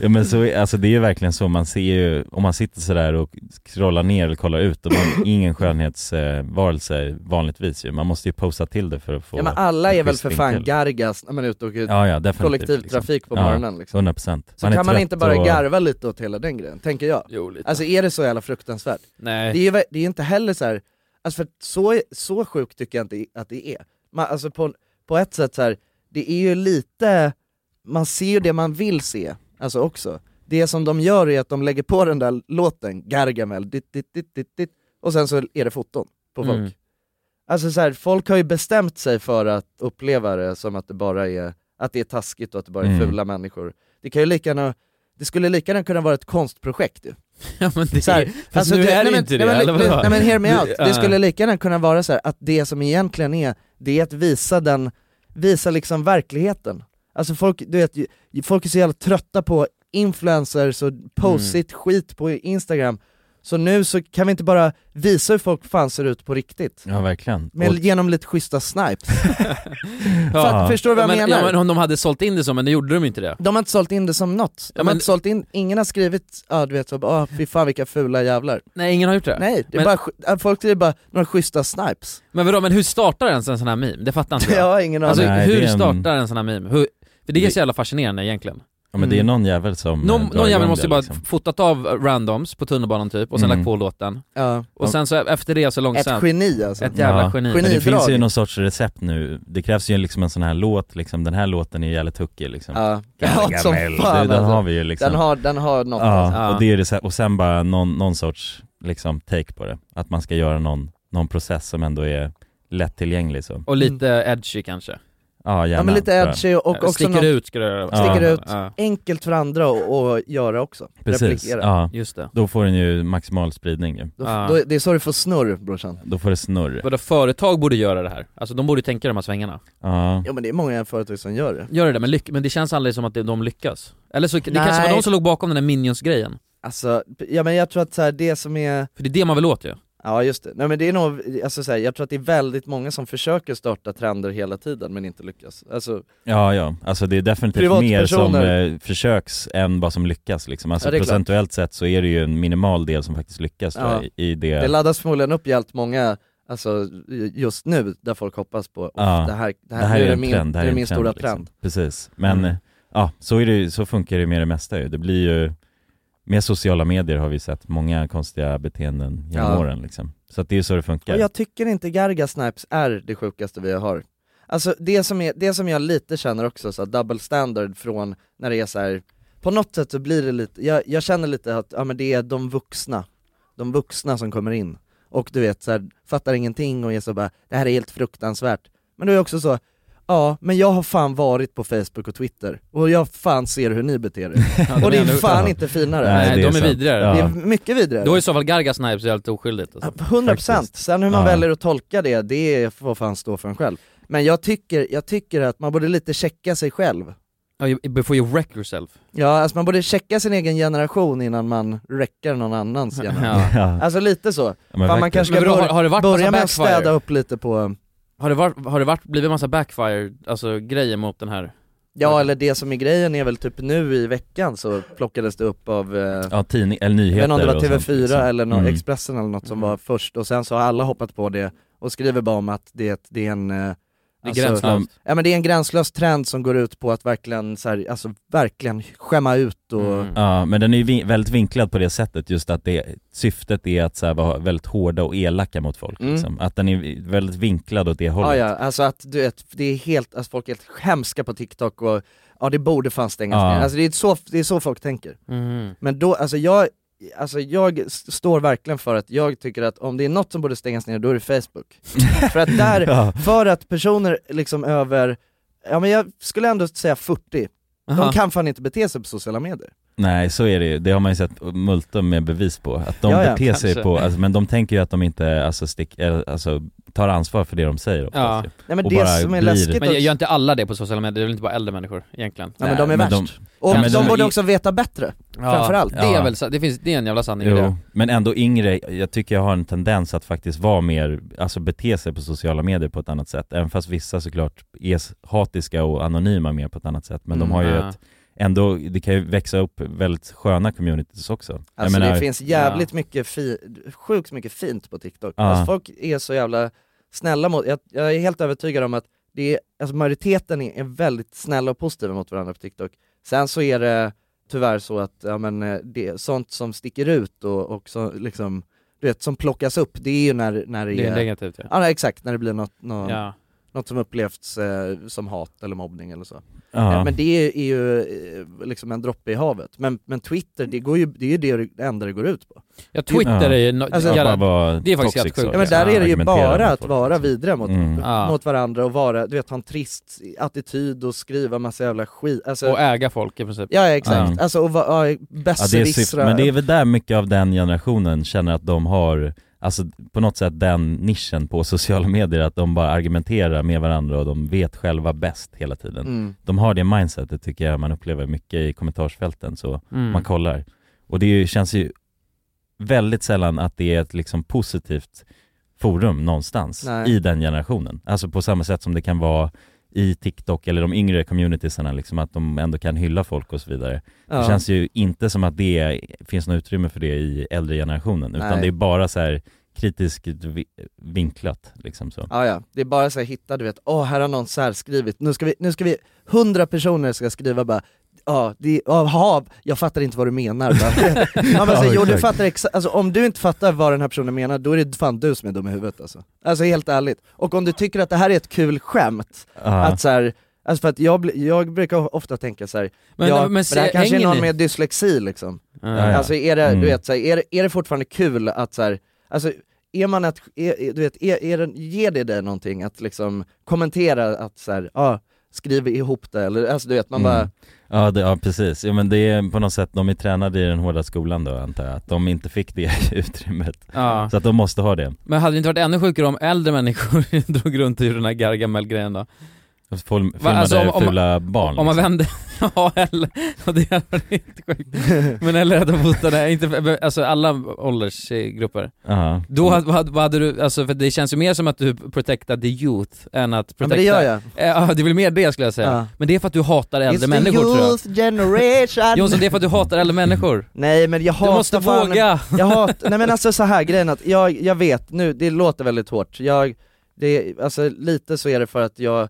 Ja men så, är- alltså det är ju verkligen så, man ser ju, om man sitter sådär och scrollar ner eller kollar ut, och man är ingen skönhetsvarelse vanligtvis ju, man måste ju posa till det för att få
ja, men alla är
en
väl
schysst
för fan
vinkel.
gargas när man är ute och åker
Ja ja definitivt
kollektivtrafik på
Ja.
morgonen liksom.
liksom. 100%
Så kan
är
man
trött
inte bara
och-
garva lite åt hela den grejen, tänker jag.
Jo, lite.
Alltså är det så jävla fruktansvärt? Det
Nej.
är ju ver- det är inte heller så här, alltså för att så, så sjukt tycker jag inte att det är. Man, alltså på, på ett sätt så här, det är ju lite, man ser ju det man vill se, alltså också. Det som de gör är att de lägger på den där låten, Gargamel, dit, dit, dit, dit, dit, och sen så är det foton på folk.
Mm.
Alltså så här, folk har ju bestämt sig för att uppleva det som att det bara är, att det är taskigt och att det bara är
Mm.
fula människor. Det kan ju lika gärna, det skulle lika gärna kunna vara ett konstprojekt ju.
Ja, men det
Så här,
fast nu
Alltså, det-
är
nej,
det
men-
inte det,
nej, men,
eller vadå?
Nej men hear me out,
Ja.
det skulle lika gärna kunna vara så här att det som egentligen är, det är att visa den, visa liksom verkligheten. Alltså folk, du vet, ju- folk är så jävla trötta på influencers och postigt
Mm.
skit på Instagram, så nu så kan vi inte bara visa hur folk fan ser ut på riktigt.
Ja verkligen
Men
Och-
genom lite schyssta snipes.
Ja.
Fatt- Förstår du vad jag
men,
menar?
Ja, men om de hade sålt in det så, men det gjorde de ju inte det.
De har inte sålt in det som något, de
Ja,
har
men-
inte sålt in, ingen har skrivit ah, du vet, så, ah, fy fan vilka fula jävlar.
Nej, ingen har gjort det.
Nej, det är
Men-
bara, sch- äh, folk skriver bara några schyssta snipes.
Men vadå, men hur startar ens en sån här meme? Det fattar inte
Jag
jag.
har ingen aning.
Alltså
Nej,
hur
det är en-
startar en sån här meme? Hur... För det är
Det-
så jävla fascinerande egentligen.
Ja men det är
mm.
någon jävel som eh,
Någon,
drar
någon jävel
igång
måste
det,
bara
liksom.
fotat av randoms på tunnelbanan typ, och sen
Mm.
lagt på låten.
ja.
Och sen så efter det så
Ett
långsamt.
geni alltså.
Ett jävla
Ja.
geni.
Geni.
Men det finns ju
Bidrag.
någon sorts recept nu, det krävs ju liksom en sån här låt liksom, den här låten är ju jävligt huckig liksom
Ja. Ja, som
Gargamel.
fan
det, den har
alltså.
vi ju liksom
Den har, den har något alltså.
Ja, och, det är det, så här- och sen bara någon, någon sorts liksom, take på det. Att man ska göra någon, någon process som ändå är lättillgänglig. Så.
Och lite edgy kanske.
Ja, gärna.
Ja men lite
tror jag.
edgy och Mm. också
Sticker
något
ut skulle jag
Ja.
sticker ut,
Ja,
enkelt för andra och, och göra också.
Precis,
Replikera.
ja.
just det.
Då får den ju maximal spridning ju.
Då,
Ja.
då, det är så du får snurr brorsan.
Då får det snurr.
Vadå, företag borde göra det här? Alltså de borde tänka de här svängarna.
Ja.
Ja men det är många företag som gör det.
Gör det, men, lyck- men det känns aldrig som att det- de lyckas. Eller så, det kanske var
Nej.
de som låg bakom den här Minions-grejen.
Alltså, ja men jag tror att så här, det som är,
För det är det man vill åt ju.
ja just det, nej men det är nog, alltså så här, jag tror att det är väldigt många som försöker starta trender hela tiden men inte lyckas. Alltså,
ja, ja. Alltså det är definitivt mer
Privatpersoner.
som eh, försöks än vad som lyckas liksom. Alltså
Ja, det är klart.
procentuellt sett så är det ju en minimal del som faktiskt lyckas tror
Ja.
jag, i- i det.
det laddas förmodligen upp jävligt många, alltså just nu, där folk hoppas på, "Åh,
Ja.
det här, det
det
här,
här
nu
är
det
en
min,
trend, det
det
här
är
en
min
trend,
stora
liksom.
trend. Mm.
Precis, men eh, ja, så, är det, ju- så funkar det ju med det mesta ju. Det blir ju, med sociala medier har vi sett många konstiga beteenden genom
Ja.
åren liksom. Så att det är ju så det funkar.
Och jag tycker inte Garga Snipes är det sjukaste vi har. Alltså det som, är, det som jag lite känner också, så här, double standard från när det är så här. på något sätt så blir det lite, jag, jag känner lite att ja, men det är de vuxna, de vuxna som kommer in och du vet så här, fattar ingenting och är så bara det här är helt fruktansvärt. Men då är jag också så, ja men jag har fan varit på Facebook och Twitter och jag fan ser hur ni beter er. och det är fan inte finare.
Nej, de är
sant.
vidrigare.
Det
Ja.
är mycket vidrigare.
Då är i så fall Garga Snipes helt oskyldigt alltså.
100%
Faktiskt.
sen hur man
Ja.
väljer att tolka det, det får fan stå för en själv. Men jag tycker, jag tycker att man borde lite checka sig själv.
Ja, you- Before you wreck yourself.
Ja, alltså man borde checka sin egen generation innan man räcker någon annans generation.
Ja.
Ja,
Alltså lite så.
men
Fan, man
faktiskt.
kanske ska
Men vadå, har,
bör-
har det varit massa
börja med att städa
backfire?
upp lite på,
Har det, varit, har det varit, blivit massa backfire, alltså grejer mot den här?
ja eller det som är grejen är väl typ nu i veckan så plockades det upp av eh,
Ja, tidning, eller nyheter
Jag vet inte om det var
och sånt,
TV4
liksom.
eller någon
Mm.
Expressen eller något som var först och sen så har alla hoppat på det och skriver bara om att det, det är en eh,
Det är gränslöst.
Ja men det är en gränslös trend som går ut på att verkligen så här, alltså verkligen skämma ut och
Mm.
Ja, men den är ju vin- väldigt vinklad på det sättet, just att det, syftet är att så här, vara väldigt hårda och elaka mot folk
Mm.
liksom. Att den är väldigt vinklad åt det hållet.
ja, ja, alltså att du vet, det är helt, alltså folk är helt hemska på TikTok och ja det borde fan stängas
Ja.
ner. Alltså det är, så, det är så folk tänker.
Mhm.
Men då, alltså jag, alltså jag s- står verkligen för att jag tycker att om det är något som borde stängas ner då är det Facebook. för att där,
Ja.
För att personer liksom över, ja men jag skulle ändå säga 40,
Aha.
de kan fan inte bete sig på sociala medier.
Nej, så är det ju. Det har man ju sett multum med bevis på. Att de
Ja, ja,
beter sig
kanske.
på, alltså, men de tänker ju att de inte alltså, stick, eller, alltså, tar ansvar för det de säger oftast,
Ja.
ju.
Nej men
Och bara
det som är
blir-
läskigt
Men
också,
gör inte alla det på sociala medier? Det är väl inte bara äldre människor egentligen?
ja, men de är
Nej, men de-
värst. Och
Ja,
de,
men de-
borde också veta bättre, framförallt.
Det är
Ja.
väl, sa- det finns, det är en jävla sanning i det.
Jo, men ändå yngre, jag tycker jag har en tendens att faktiskt vara mer, alltså bete sig på sociala medier på ett annat sätt. Även fast vissa såklart är s- hatiska och anonyma mer på ett annat sätt. Men de
Mm,
har ju
Ja.
ett, ändå, det kan ju växa upp väldigt sköna communities också. Jag
Alltså
menar-
det finns jävligt mycket, fi, sjukt mycket fint på TikTok.
Ja.
Alltså folk är så jävla snälla mot, jag, jag är helt övertygad om att det är, alltså majoriteten är, är väldigt snälla och positiva mot varandra på TikTok. Sen så är det tyvärr så att, ja men eh, det, sånt som sticker ut och, och så, liksom, du vet, som plockas upp, det är ju när, när det är,
Det är negativt ja.
ja nej, exakt, när det blir något, något,
ja.
något som upplevts eh, som hat eller mobbning eller så.
ja.
Eh, Men det är, är ju eh, liksom en droppe i havet. Men, men Twitter, det, går ju, det är ju det det enda det går ut på.
Ja, Twitter
Ja.
är ju... No-
Alltså-
Att
jävla-
bara vara
det är faktiskt
toxic
helt sjukt.
så.
Ja men där
Ja,
är det ju
Argumentera
bara
med
att
folk.
vara vidriga mot,
Mm.
Ja.
mot varandra och vara, du vet, ha en trist attityd och skriva massa jävla skit. Alltså,
Och äga folk i princip.
ja, ja, exakt.
Ja.
Alltså och vara ja,
Ja, det är syf-
besserwissra.
men det är väl där mycket av den generationen känner att de har, alltså på något sätt den nischen på sociala medier, att de bara argumenterar med varandra och de vet själva bäst hela tiden.
mm.
De har det mindsetet tycker jag man upplever mycket i kommentarsfälten, så
Mm.
man kollar. Och det är ju, känns ju väldigt sällan att det är ett liksom positivt forum någonstans
Nej.
i den generationen. Alltså på samma sätt som det kan vara i TikTok eller de yngre communitiesarna, liksom att de ändå kan hylla folk och så vidare.
ja.
Det känns ju inte som att det finns något utrymme för det i äldre generationen, utan
Nej.
det är bara så här kritiskt vi- vinklat liksom så.
Ja, ja, det är bara så här hitta, du vet, åh här har någon särskrivit, nu ska vi, nu ska vi, hundra personer ska skriva bara Ja, det, aha, jag fattar inte vad du menar. Bara. Ja, men så,
Ja,
jo, du
exakt.
fattar exa- alltså, om du inte fattar vad den här personen menar, då är det fan du som är dum i huvudet alltså. Alltså helt ärligt. Och om du tycker att det här är ett kul skämt,
Ja,
Att så här, alltså för att jag, bli- jag brukar ofta tänka så här,
Men-
ja,
men
men, det här
se-
kanske är
hänger
någon
ni?
med dyslexi liksom.
Ja, ja.
Alltså är det,
Mm.
du vet, så här, är, det- är det fortfarande kul att så här, alltså är man att, är, är- du vet, är, är det, ger det dig någonting att liksom kommentera att så här, ja, skriver ihop det eller, alltså du vet man
Mm.
bara
Ja, det, ja precis, ja, men det är på något sätt, de är tränade i den hårda skolan då antar jag, att de inte fick det utrymmet.
Ja.
Så att de måste ha det.
Men hade det inte varit ännu sjukare om äldre människor drog runt i den här Gargamel-grejen då?
De fol- Filmade
alltså, om- om-
fula barn.
Om man
liksom.
vände, ja eller, ja, det hade varit inte sjukt. Men eller att de fotade, inte, alltså alla åldersgrupper.
Ja.
Mm.
Då, hade- vad, hade- vad hade du, alltså för det känns ju mer som att du protectar the youth än att
Ja men
protecta...
det gör jag.
Eh, Ja, det är väl mer det skulle jag säga.
Ja.
Men det är för att du hatar äldre
It's the
människor tror jag.
youth generation!
Jonsson, det är för att du hatar äldre människor.
Nej men jag
Du
hatar
måste
fan-
våga!
Jag hatar, nej men alltså så här grejen att jag, jag vet nu, det låter väldigt hårt, jag, det, alltså lite så är det för att jag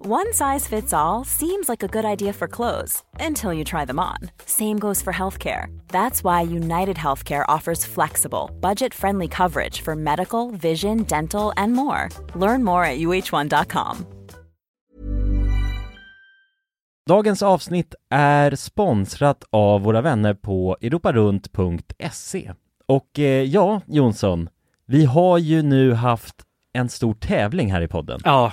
One size fits all seems like a good idea for clothes until you try them on. Same goes for healthcare. That's why United Healthcare offers flexible, budget friendly coverage for medical, vision, dental, and more. Learn more at uh1.com.
Dagens avsnitt är sponsrat av våra vänner på europarunt.se. Och eh, ja, Jonsson, vi har ju nu haft en stor tävling här i podden.
Ja,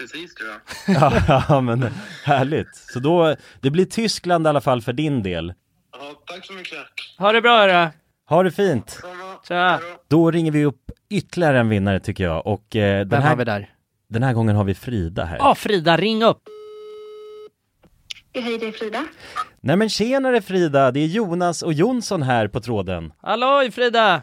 precis tror jag.
ja, men härligt. Så då, det blir Tyskland i alla fall för din del.
Ja, tack så mycket.
Ha det bra hörru.
Ha det fint!
Tja.
Då ringer vi upp ytterligare en vinnare tycker jag och eh, den
Vem
här,
har vi där?
Den här gången har vi Frida här.
Ja Frida, ring upp.
Hej, det är Frida.
Nej men tjenare Frida, det är Jonas och Jonsson här på tråden.
Halloj Frida!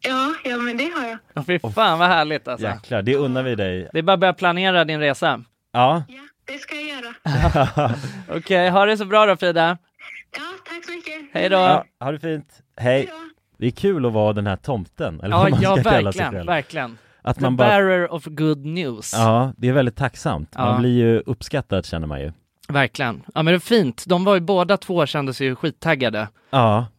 Ja, ja men det har jag.
Åh, Fy fan vad härligt alltså.
Jäklar, det unnar vi dig.
Det är bara att börja planera din resa.
Ja.
Det ska jag göra.
Okej, ha det så bra då Frida.
Tack så mycket.
Hej då.
Ja, ha det fint. Hej. Det är kul att vara den här tomten, eller
Ja,
vad man
ja
ska kalla sig
verkligen,
själv.
verkligen.
Att
The
man bara-
bearer of good news.
Ja, det är väldigt tacksamt.
Ja.
Man blir ju uppskattad känner man ju.
Verkligen. Ja men det är fint. De var ju båda två kände sig ju skittaggade
Ja.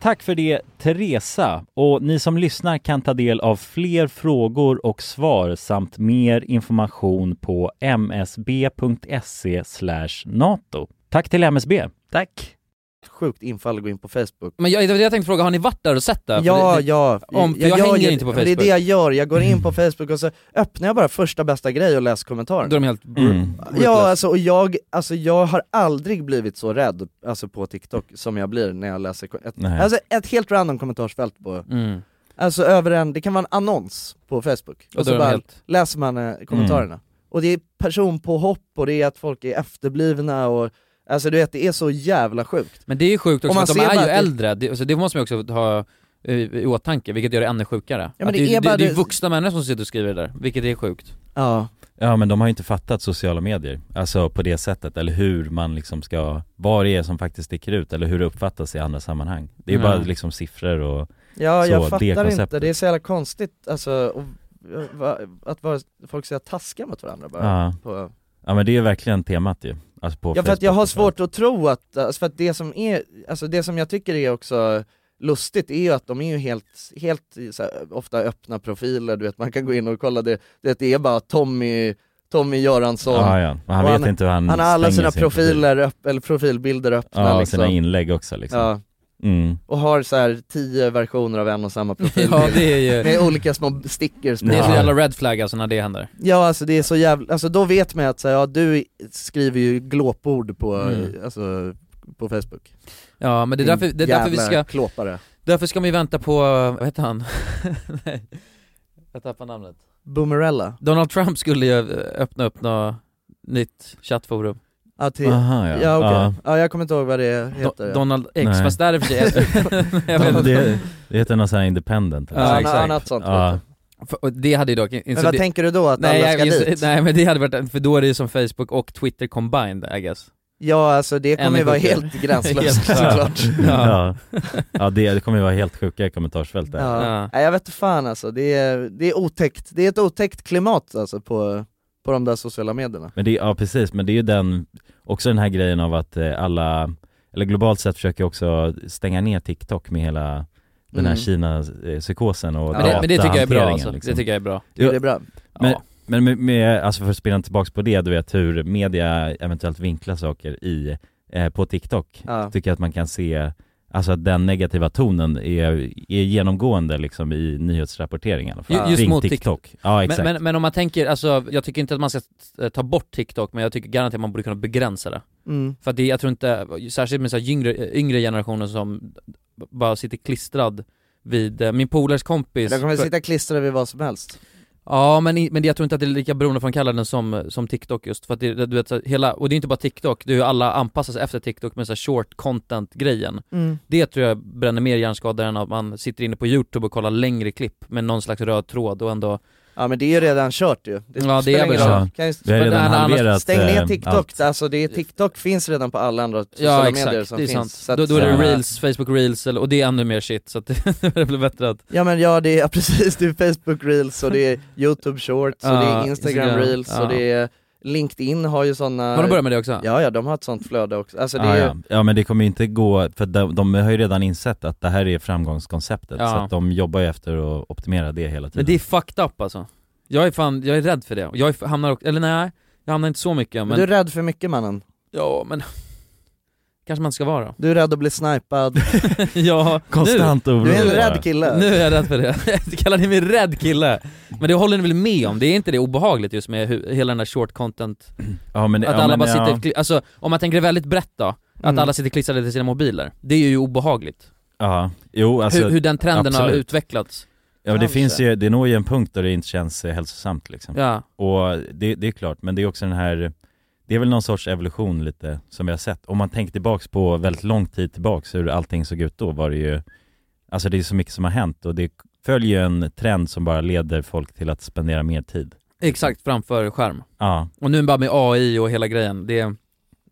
Tack för det Teresa och ni som lyssnar kan ta del av fler frågor och svar samt mer information på msb.se E nato. Tack till MSB.
Tack. Sjukt infall att gå in på Facebook.
Men jag, det var det jag tänkte fråga, har ni varit där och sett det? För
Ja,
det, det,
ja.
Om, för jag,
gör
hänger
ju-
inte på
men Det
Facebook. Mm.
är det jag gör, jag går in på Facebook och så öppnar jag bara första bästa grej och läser kommentarerna.
Då är de helt br- Mm. ruthless.
Ja, alltså, och jag, alltså jag har aldrig blivit så rädd alltså, på TikTok som jag blir när jag läser ko- ett,
Nej.
alltså, ett helt random kommentarsfält på
Mm.
Alltså över en, det kan vara en annons på Facebook,
Och
och,
då är
så
de
bara
helt- Mm.
läser man eh, kommentarerna. Och det är personpåhopp och det är att folk är efterblivna och, alltså du vet det är så jävla sjukt.
Men det är ju sjukt
Om
också,
man
att de
ser
är
bara
ju
att det-
äldre, det, alltså, det måste man ju också ha eh, i åtanke, vilket gör det ännu sjukare.
men
Att
det
det,
är
är det,
bara
det är
det-
vuxna människor som sitter och skriver det där, vilket är sjukt.
Ja.
Ja, men de har ju inte fattat sociala medier, alltså på det sättet, eller hur man liksom ska, vad det är som faktiskt sticker ut, eller hur det uppfattas i andra sammanhang. Det är ju
Nej.
bara liksom siffror och
Ja
så,
jag
det
fattar
konceptet.
inte, det är så jävla konstigt alltså, och, va, att vara, folk säger taskiga mot varandra bara.
Ja.
På,
ja, men det är ju verkligen temat ju. Alltså på
ja för att jag
Facebook.
har svårt att tro att, alltså, för att det som är, alltså det som jag tycker är också lustigt är ju att de är ju helt, helt så här, ofta öppna profiler, du vet man kan gå in och kolla det, du vet, det är bara Tommy, Tommy Göransson
Ja, ja. Och han
Och
vet inte hur han
Han har alla
stänger
sina
sin
profiler, upp, eller profilbilder öppna
Ja, och
liksom.
sina inlägg också liksom.
Ja.
Mm.
och har så här tio versioner av en och samma profil
Ja, det är ju-
med olika små stickers på.
Det är så jävla red flag alltså när det händer.
Ja alltså det är så jävla, alltså då vet man att så här, ja, du skriver ju glåpord på,
Mm.
alltså, på Facebook
Ja men det är
Din
därför, det är därför vi
jävla
ska...
klåpare
Därför ska man ju vänta på, vad heter han? Nej, jag tappar namnet.
Boomerella,
Donald Trump skulle ju eh, öppna upp något nytt chattforum.
ja till,
Aha, ja.
ja okej,
Ja.
ja. jag kommer inte ihåg vad det heter
Do- Donald X,
Nej.
fast där är för sig jag vet
Det,
inte.
det, heter någon sån här independent
Ja,
så.
exakt.
något sånt,
ja.
För- och det hade ju dock inte...
Men vad tänker du då, att
nej,
alla ska
jag, just-
dit?
Nej men det hade varit, för då är det ju som Facebook och Twitter combined I guess.
Ja alltså det kommer ju
Ännu
vara
sjukare.
helt gränslöst
Helt klart.
såklart
Ja.
Ja. ja, det det kommer ju vara helt sjuka kommentarsfält där
Ja. Nej, jag vet inte fan alltså, det är, det är otäckt, det är ett otäckt klimat alltså på, på de där sociala medierna
Men det, ja precis, men det är ju den, också den här grejen av att eh, alla, eller globalt sett försöker också stänga ner TikTok med hela den här
Mm.
Kina-psykosen och
Men det- men det tycker jag är bra,
datahanteringen, liksom.
alltså. Det tycker jag är bra.
Ja, det är bra.
Men, men med, med, alltså för att spela tillbaks på det, du vet hur media eventuellt vinklar saker i, eh, på TikTok,
Ja.
tycker jag att man kan se Alltså att den negativa tonen är, är genomgående liksom i nyhetsrapportering i alla fall.
Ju- Just
Kring
mot
TikTok. Ja exakt.
Men, men, men om man tänker, alltså jag tycker inte att man ska eh, ta bort TikTok men jag tycker garanterat man borde kunna begränsa det.
Mm.
För att det, jag tror inte, särskilt med så här yngre, eh, yngre generationer som bara sitter klistrad vid, eh, min polares kompis
De kommer
för-
sitta klistrade vid vad som helst
Ja men, i- men det- jag tror inte att det är lika beroendeframkallande som, som TikTok just, för att det, du vet, så här, hela, och det är inte bara TikTok, det är ju alla anpassas efter TikTok med så här short content-grejen
Mm.
Det tror jag bränner mer hjärnskada än att man sitter inne på youtube och kollar längre klipp med någon slags röd tråd och ändå
Ja men det är ju redan kört ju,
Ja,
det
det är
spelar ingen
väl
roll.
så.
Kan ju-
Vi har redan
annars-
halverat,
Stäng ner
eh,
TikTok,
allt.
alltså det är, TikTok finns redan på alla andra sociala
Ja
medier
exakt,
som
det är
finns
sant.
Så att-
Då, då är
Ja.
det reels, facebook reels eller- och det är ännu mer shit så att det blir bättre att
Ja men ja, det är ja, precis, det är Facebook reels och det är youtube shorts och det
Ja,
är instagram
Instagram,
reels
ja.
och det är LinkedIn har ju sådana
Har de börjat med det också?
Ja ja, de har ett sånt flöde också, alltså det
ja,
är ju,
ja. ja men det kommer ju inte gå, för de, de har ju redan insett att det här är framgångskonceptet
Ja.
så att de jobbar ju efter att optimera det hela tiden
Men det är fucked up alltså Jag är fan, jag är rädd för det, Och jag är, hamnar också, eller nej, jag hamnar inte så mycket men,
men... du är rädd för mycket mannen
Ja men, kanske man inte ska vara
Du är rädd att bli snipad
Ja,
Konstant
nu.
orolig.
Du är en rädd kille.
Nu är jag rädd för det. Kallar ni mig rädd kille? Men det håller ni väl med om? Det är inte det obehagligt just med hu- hela den här short content?
Ja, men det-
att
ja,
alla
men
bara sitter,
ja.
kli- alltså om man tänker väldigt brett då, att
Mm.
alla sitter klistrade till sina mobiler. Det är ju obehagligt.
Ja, jo alltså
hur, hur den trenden har
absolut.
utvecklats.
Ja men det
Kanske.
finns ju, det når ju en punkt där det inte känns eh, hälsosamt liksom
Ja.
Och det, det är klart, men det är också den här Det är väl någon sorts evolution lite som vi har sett Om man tänker tillbaks på väldigt lång tid tillbaks hur allting såg ut då var det ju Alltså det är så mycket som har hänt och det följer ju en trend som bara leder folk till att spendera mer tid
Exakt, framför skärm.
Ja.
Och nu bara med AI och hela grejen, det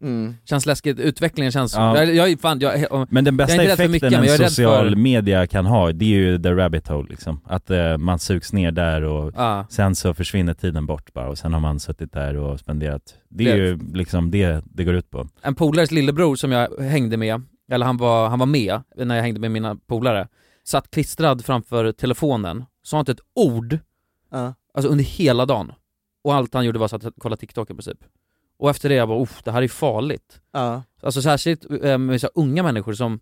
Mm.
känns läskigt, utvecklingen känns...
Ja.
Jag, jag, är fan, jag, jag,
Men den bästa
jag är inte rädd för
effekten
mycket, men
en
jag är rädd
social
för...
media kan ha, det är ju the rabbit hole liksom. Att eh, man sugs ner där och
Ja.
sen så försvinner tiden bort bara och sen har man suttit där och spenderat. Det är
Det-
ju liksom det det går ut på.
en polares lillebror som jag hängde med, eller han var, han var med när jag hängde med mina polare, satt klistrad framför telefonen, sa inte ett ord,
Ja.
alltså under hela dagen. Och allt han gjorde var så att kolla TikTok i princip. Och efter det jag bara, uff, det här är farligt.
Ja.
Alltså särskilt eh, med så här unga människor som,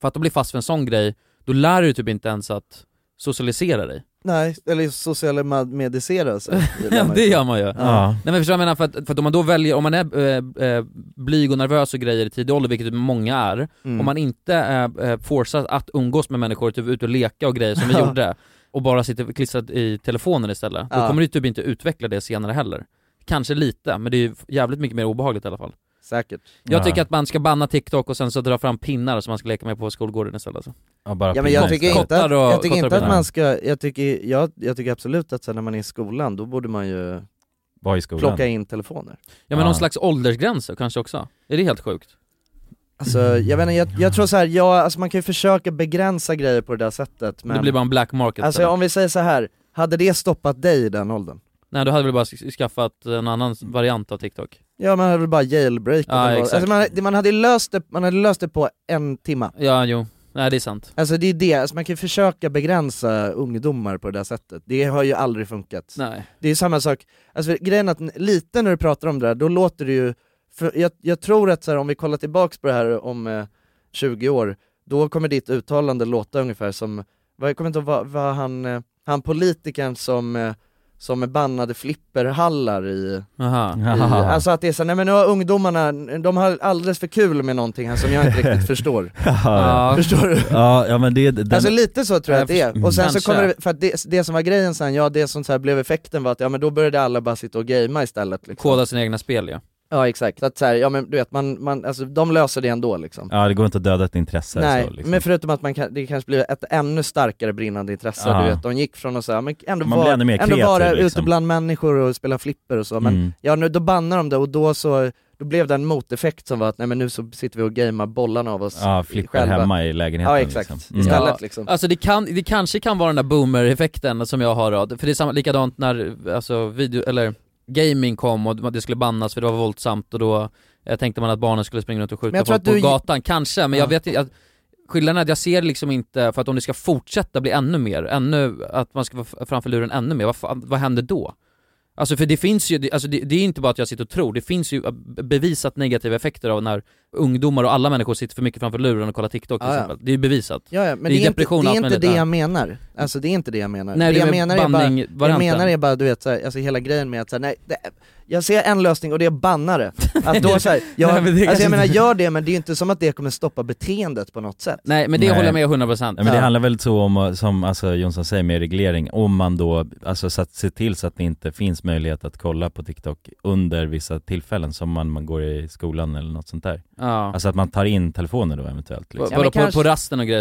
för att de blir fast för en sån grej, då lär du typ inte ens att socialisera dig.
Nej, eller sociala med- alltså. medicera sig
Ja det gör man ju.
Ja.
Nej men förstår du vad jag menar? För att, för att om man då väljer, om man är eh, eh, blyg och nervös och grejer i tidig ålder, vilket många är,
Mm.
om man inte eh, eh, forceras att umgås med människor, typ ut och leka och grejer som vi
Ja.
gjorde, och bara sitter klistrat i telefonen istället, då
Ja.
kommer du typ inte utveckla det senare heller. Kanske lite, men det är ju jävligt mycket mer obehagligt i alla fall.
Säkert
Jag
Ja.
tycker att man ska banna TikTok och sen så dra fram pinnar som man ska leka med på skolgården istället alltså.
Ja, bara
Ja men jag tycker inte att,
Kottar och-
jag tycker inte
kottar och
att
pinnar.
man ska, jag tycker, jag, jag tycker absolut att sen när man är i skolan, då borde man ju
Var i skolan.
plocka in telefoner
Ja men någon slags åldersgräns då, kanske också? Är det helt sjukt?
Alltså jag vet inte, jag, jag tror så här, ja, alltså man kan ju försöka begränsa grejer på det där sättet men
Det blir bara en black market
Alltså
istället.
om vi säger så här hade det stoppat dig i den åldern?
Nej du hade väl bara sk- skaffat en annan variant av TikTok?
Ja man hade väl bara jailbreakat
Ja,
den åldern.
exakt.
alltså, man, hade- man hade löst det, man hade löst det på en timma
Ja jo, nej det är sant
Alltså det är det, alltså, man kan ju försöka begränsa ungdomar på det där sättet, det har ju aldrig funkat
Nej.
Det är samma sak, alltså grejen är att n- lite när du pratar om det där, då låter det ju, för jag, jag tror att så här, om vi kollar tillbaks på det här om eh, 20 år, Då kommer ditt uttalande låta ungefär som, vad- jag kommer inte ihåg vad, vad han, eh, han politikern som, eh, som bannade flipperhallar i,
Aha.
i
Aha.
alltså att det är så, nej men nu har ungdomarna, de har alldeles för kul med någonting här som jag inte riktigt förstår.
Ja.
Förstår du?
Ja, ja men det... Den...
Alltså lite så tror jag att det är, och sen så
Kanske.
kommer det, för att det, det som var grejen sen, ja det som så här blev effekten var att ja men då började alla bara sitta och gamea istället liksom.
Koda sina egna spel ja.
Ja exakt, att så här, ja men du vet, man, man, alltså de löser det ändå liksom
Ja, det går inte att döda ett intresse
Nej,
så, liksom.
men förutom att man kan, det kanske blir ett ännu starkare brinnande intresse,
Ja.
du vet, de gick från att säga, men ändå,
Man blir
var,
ännu mer
ändå vara
kreativ,
ute
liksom.
bland människor och spela flipper och så, men
Mm.
ja nu, då bannar de det och då så, då blev det en moteffekt som var att nej men nu så sitter vi och gamear bollarna av oss
Ja, flippar
själva.
hemma i lägenheten,
Ja exakt,
liksom. Mm.
istället
Ja,
liksom
Alltså det, kan, det kanske kan vara den där boomer-effekten som jag har då, för det är samma, likadant när alltså, video, eller gaming kom och det skulle bannas för det var våldsamt och då eh, tänkte man att barnen skulle springa runt och
Men
skjuta
jag tror
folk
att
på
du-
gatan, kanske, men jag
Ja.
vet inte, att- skillnaden är att jag ser liksom inte, för att om det ska fortsätta bli ännu mer, ännu, att man ska vara f- framför luren ännu mer, vad, fan, vad händer då? Alltså för det finns ju, det- alltså det, det är inte bara att jag sitter och tror, det finns ju eh, bevisat negativa effekter av när ungdomar och alla människor sitter för mycket framför luren och kollar TikTok till
Ah, Ja, ja.
exempel. Det är ju bevisat.
Ja, ja, men
Det är
det är, inte,
depression och
det, är
allt
inte
möjligt,
det
ja.
jag menar. Alltså det är inte det jag menar.
Nej,
det
det
jag
är
menar är bara, det jag
banning-varianten.
menar är bara du vet så här, alltså hela grejen med att så här, nej, det, jag ser en lösning och det är bannare. Att då så här, jag,
Nej, men det
alltså
kanske
jag menar
inte-
gör det men det är ju inte som att det kommer stoppa beteendet på något sätt.
Nej men det
Nej.
håller jag med 100%
Ja, men det handlar väl så om, som alltså Jonsson säger med reglering, om man då, alltså så att, se till så att det inte finns möjlighet att kolla på TikTok under vissa tillfällen som man, man går i skolan eller något sånt där.
Ja.
Alltså att man tar in telefoner då eventuellt liksom.
Ja, men kanske-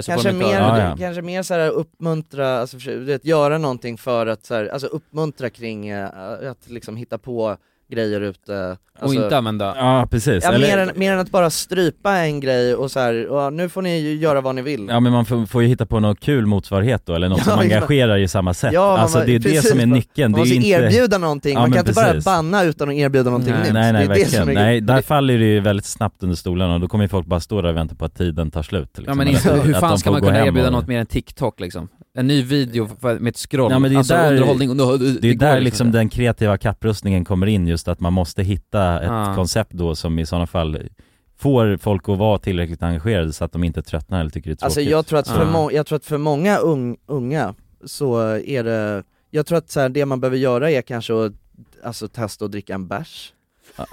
kanske mer,
Ja, ja.
Kanske mer så här uppmuntra, alltså, försö- du vet, göra någonting för att så här, alltså uppmuntra kring eh, att liksom hitta på grejer ute. Alltså,
inte använda-
Ja precis,
Ja,
eller,
mer, än, mer än att bara strypa en grej och så här, och nu får ni ju göra vad ni vill.
ja men man får, får ju hitta på någon kul motsvarighet då, eller något
Ja,
som
ja.
engagerar i samma sätt.
man-
alltså det är det
precis,
som är
man-
nyckeln.
Man
det är
måste
ju inte...
erbjuda någonting,
Ja,
man
men
kan inte
precis.
bara banna utan att erbjuda någonting
Nej,
nytt.
nej,
det är det
verkligen.
som är
nej, där faller det ju väldigt snabbt under stolarna och då kommer ju folk bara stå där och vänta på att tiden tar slut. liksom.
Ja men
Eller
inte,
att-
hur
att
fan
de
ska
får
man
gå
kunna
hem
erbjuda
och-
något mer än TikTok liksom? En ny video för- med ett scroll,
Ja, men det är
alltså
där,
underhållning och
det är där liksom den kreativa kapprustningen kommer in just att man måste hitta ett
Ja.
koncept då som i sådana fall får folk att vara tillräckligt engagerade så att de inte tröttnar eller tycker det är tråkigt.
Alltså jag tror att för,
Ja.
må- jag tror att för många ung- unga så är det, jag tror att så här, det man behöver göra är kanske att alltså, testa att dricka en bärs,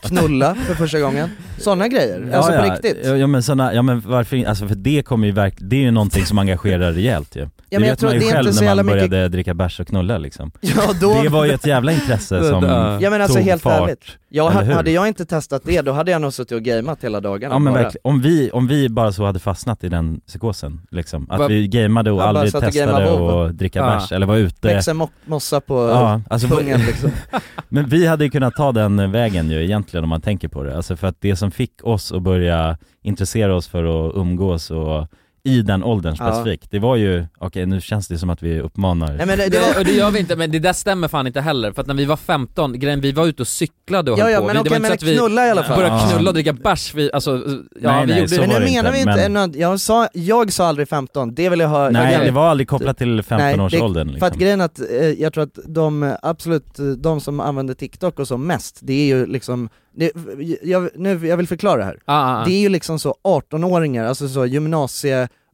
knulla för första gången, sådana grejer, alltså på riktigt.
Ja, ja men såna, ja men varför inte, alltså för det kommer ju verk, det är ju någonting som engagerar rejält ju. Ja, det
men
vet
jag tror
man ju
att det är
själv
inte så
när
jävla
man
mycket-
började dricka bärs och knulla liksom.
Ja, då-
Det var ju ett jävla intresse som
ja men alltså
tog
helt
fart,
ärligt, jag,
eller hur?
hade jag inte testat det då hade jag nog suttit och gameat hela dagarna
Ja men
bara.
verkligen, om vi, om vi bara så hade fastnat i den psykosen liksom, att
Va-
vi gameade och
Ja, bara
aldrig
satt och
testade
gameade
och,
WoW.
dricka
Ja.
bärs eller var ute alltså,
Växa mo- mossa på pungen liksom.
Men vi hade ju kunnat ta den vägen ju egentligen om man tänker på det, alltså för att det som fick oss att börja intressera oss för att umgås och i den åldern
Ja.
specifikt, det var ju, okej nu känns det som att vi uppmanar
Nej, men det, det, och det gör vi inte, men det där stämmer fan inte heller, för att när vi var 15, grejen, vi var ute och cyklade och
Ja,
höll
ja,
på.
men
vi,
okej,
var
men
så vi
knulla i alla fall.
började
Ja.
knulla och dricka bärs, vi, alltså, ja
Nej,
vi
nej,
gjorde
så
Men nu
var det
menar vi
inte,
inte,
men-
en- jag, sa, jag sa aldrig 15, det vill jag ha
Nej,
jag vill-
det var liksom- aldrig kopplat till 15-årsåldern,
Nej, det- För att
liksom.
grejen är att, eh, jag tror att de, eh, absolut, eh, de som använder TikTok och så mest, det är ju liksom, det, jag, nu, jag vill förklara det här.
Ah, ah, ah.
Det är ju liksom så 18-åringar, alltså så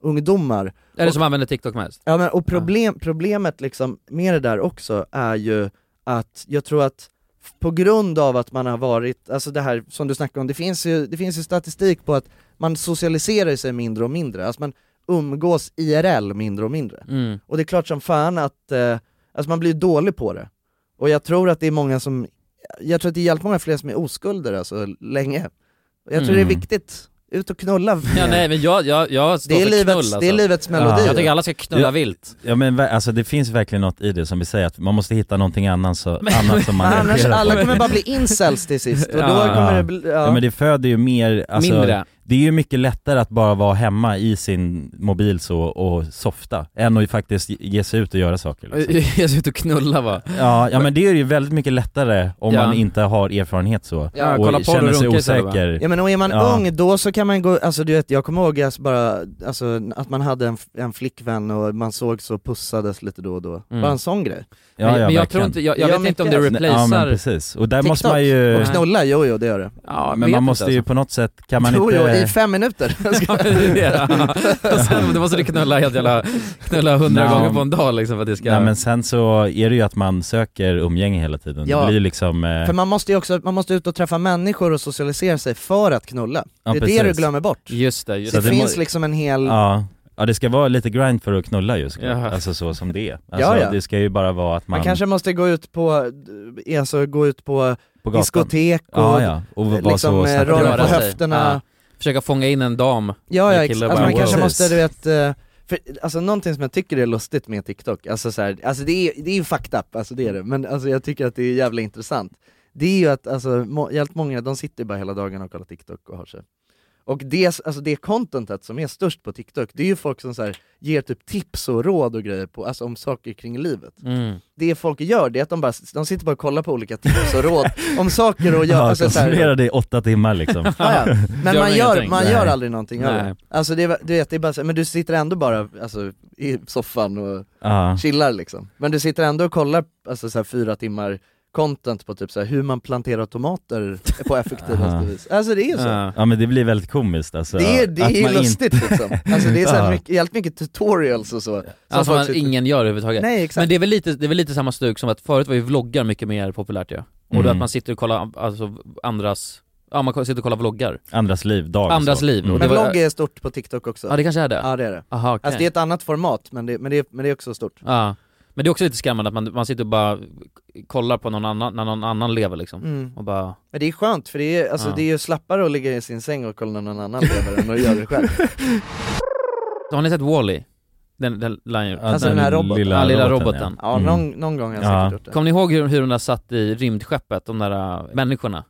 gymnasieungdomar.
Är det
Och-
som använder TikTok mest?
Ja men och problem, problemet liksom med det där också är ju att jag tror att f- på grund av att man har varit, alltså det här som du snackade om, det finns ju, det finns ju statistik på att man socialiserar sig mindre och mindre, alltså man umgås IRL mindre och mindre.
Mm.
Och det är klart som fan att, eh, alltså man blir dålig på det. Och jag tror att det är många som, jag tror att det är jävligt många fler som är oskulder alltså länge. Och jag tror
Mm.
det är viktigt, ut och knulla.
Ja nej men jag, jag, jag står
Det är
för
livets-
knull, alltså.
det är livets melodi.
Jag tycker alla ska knulla
Ja.
vilt
Ja men ver- alltså det finns verkligen något i det som vi säger att man måste hitta någonting annan så, annat som man
Annars
reagerar på.
alla kommer bara bli incels till sist och då
Ja.
kommer det bli,
Ja. men det föder ju mer, alltså,
Mindre.
det är ju mycket lättare att bara vara hemma i sin mobil så och softa, än att ju faktiskt ge sig ut och göra saker liksom.
Jag ser ut och knulla va?
Ja, ja men det är ju väldigt mycket lättare om
Ja.
man inte har erfarenhet så,
Ja,
och
kolla
porr
känner
och
sig
runka istället, va?
osäker
Ja men och är man
Ja.
ung då så kan man gå, alltså du vet jag kommer ihåg alltså bara, alltså att man hade en, en flickvän och man såg så pussades lite då och då,
Mm.
bara en sån grej
Ja, Men- ja, men jag verkligen. tror inte-
jag- jag vet inte om det
mycket, alltså.
Ja men precis, och där måste man ju
och knulla, jo jo det gör det alltså.
Men man måste ju på något sätt, kan man
Jo,
inte
jo, i fem minuter.
Ja, det är det. Och sen, då måste du knulla helt jävla, knulla hundra
Nej.
gånger på en dag liksom för att det ska...
Nej men sen så är det ju att man söker umgänge hela tiden.
Ja.
Det blir liksom... Eh,
För man måste ju också, man måste ut och träffa människor och socialisera sig för att knulla.
Ja,
det är det
precis.
du glömmer bort.
Just det,
Så det,
må-
finns liksom en hel...
Ja. ja, det ska vara lite grind för att knulla just nu.
Ja.
Alltså så som det är. Alltså,
Ja, ja.
Det ska ju bara vara att man...
Man kanske måste gå ut på, eh, alltså gå ut på,
På gatan.
diskotek och,
Ja, ja. Och vara så
liksom eh,
snabb.
röra på
Röra sig.
höfterna.
Försöka fånga in en dam
Ja, ja,
Eller
ex-
kille
alltså,
bara,
man kanske
wow.
måste du vet, eh, för, alltså någonting som jag tycker är lustigt med TikTok, alltså, så här, alltså det är ju det är ju fucked up, alltså det är det, men alltså, jag tycker att det är jävla intressant. Det är ju att alltså, må, jävligt många, de sitter bara hela dagen och kollar TikTok och har sig. Och det, alltså det contentet som är störst på TikTok, det är ju folk som så här, ger typ tips och råd och grejer på, alltså, om saker kring livet.
Mm.
Det folk gör, det är att de, bara, de sitter bara och kollar på olika tips och råd om saker och gör,
ja,
alltså, så här,
koncentrera dig i åtta timmar liksom.
Ja, ja. Men
Gör
man, gör,
ingenting.
man
Nej.
gör aldrig någonting av
Nej.
det. Alltså det, är- du vet, det är bara så, men du sitter ändå bara alltså, i soffan och
Ja.
chillar liksom. Men du sitter ändå och kollar alltså, så här, fyra timmar content på typ så här, hur man planterar tomater på effektivaste vis. Alltså det är ju så.
Ja. Ja men det blir väldigt komiskt alltså.
Det är, det
Att
är ju
man inte-
lustigt liksom. Alltså det är så
Ja.
här, mycket, jävligt mycket tutorials och så. Som
Ja, Alltså, som
folk
man
sitter-
ingen gör överhuvudtaget.
Nej, exakt.
Men det är, väl lite, det är väl lite samma stuk som att förut var ju vloggar mycket mer populärt ja. Och då
Mm.
att man sitter och kollar alltså, andras, ja man sitter och kollar vloggar.
Andras liv, dag och
Andras
så.
liv.
Mm.
Det
Men
var-
vlogg är stort på TikTok också.
Ja det kanske är det?
Ja det är det.
Aha, okej.
Alltså det är ett annat format men det, men det, men det är också
typ.
stort.
Ja. Men det är också lite skrämmande att man, man sitter och bara kollar på någon annan, när någon annan lever liksom.
Mm.
Och bara,
Men det är skönt för det är, alltså,
Ja.
det är ju slappare att ligga i sin säng och kolla när någon annan lever än att göra det själv.
har ni sett Wall-E? Den, den, den,
Alltså den här roboten?
ja, lilla roboten.
Ja,
Mm.
någon, någon gång har jag säkert gjort det.
Kommer ni ihåg hur, hur de där satt i rymdskeppet, de där äh, människorna?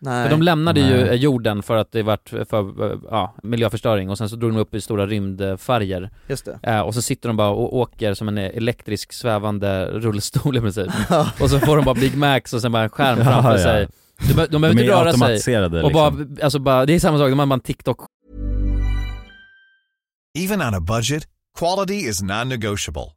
Nej.
För de lämnade ju
Nej.
eh, jorden för att det vart för eh, ja, miljöförstöring och sen så drog de upp i stora rymdfärger.
Just det.
Eh, och så sitter de bara och åker som en eh, elektrisk svävande rullstol i princip. och så får de bara Big Macs och sen bara en skärm
Ja,
framför
ja.
sig. De, be- de behöver
De
inte
är
röra sig.
automatiserade,
Och bara,
liksom.
alltså bara, det är samma sak, de har bara en TikTok
Even on a budget, quality is non-negotiable.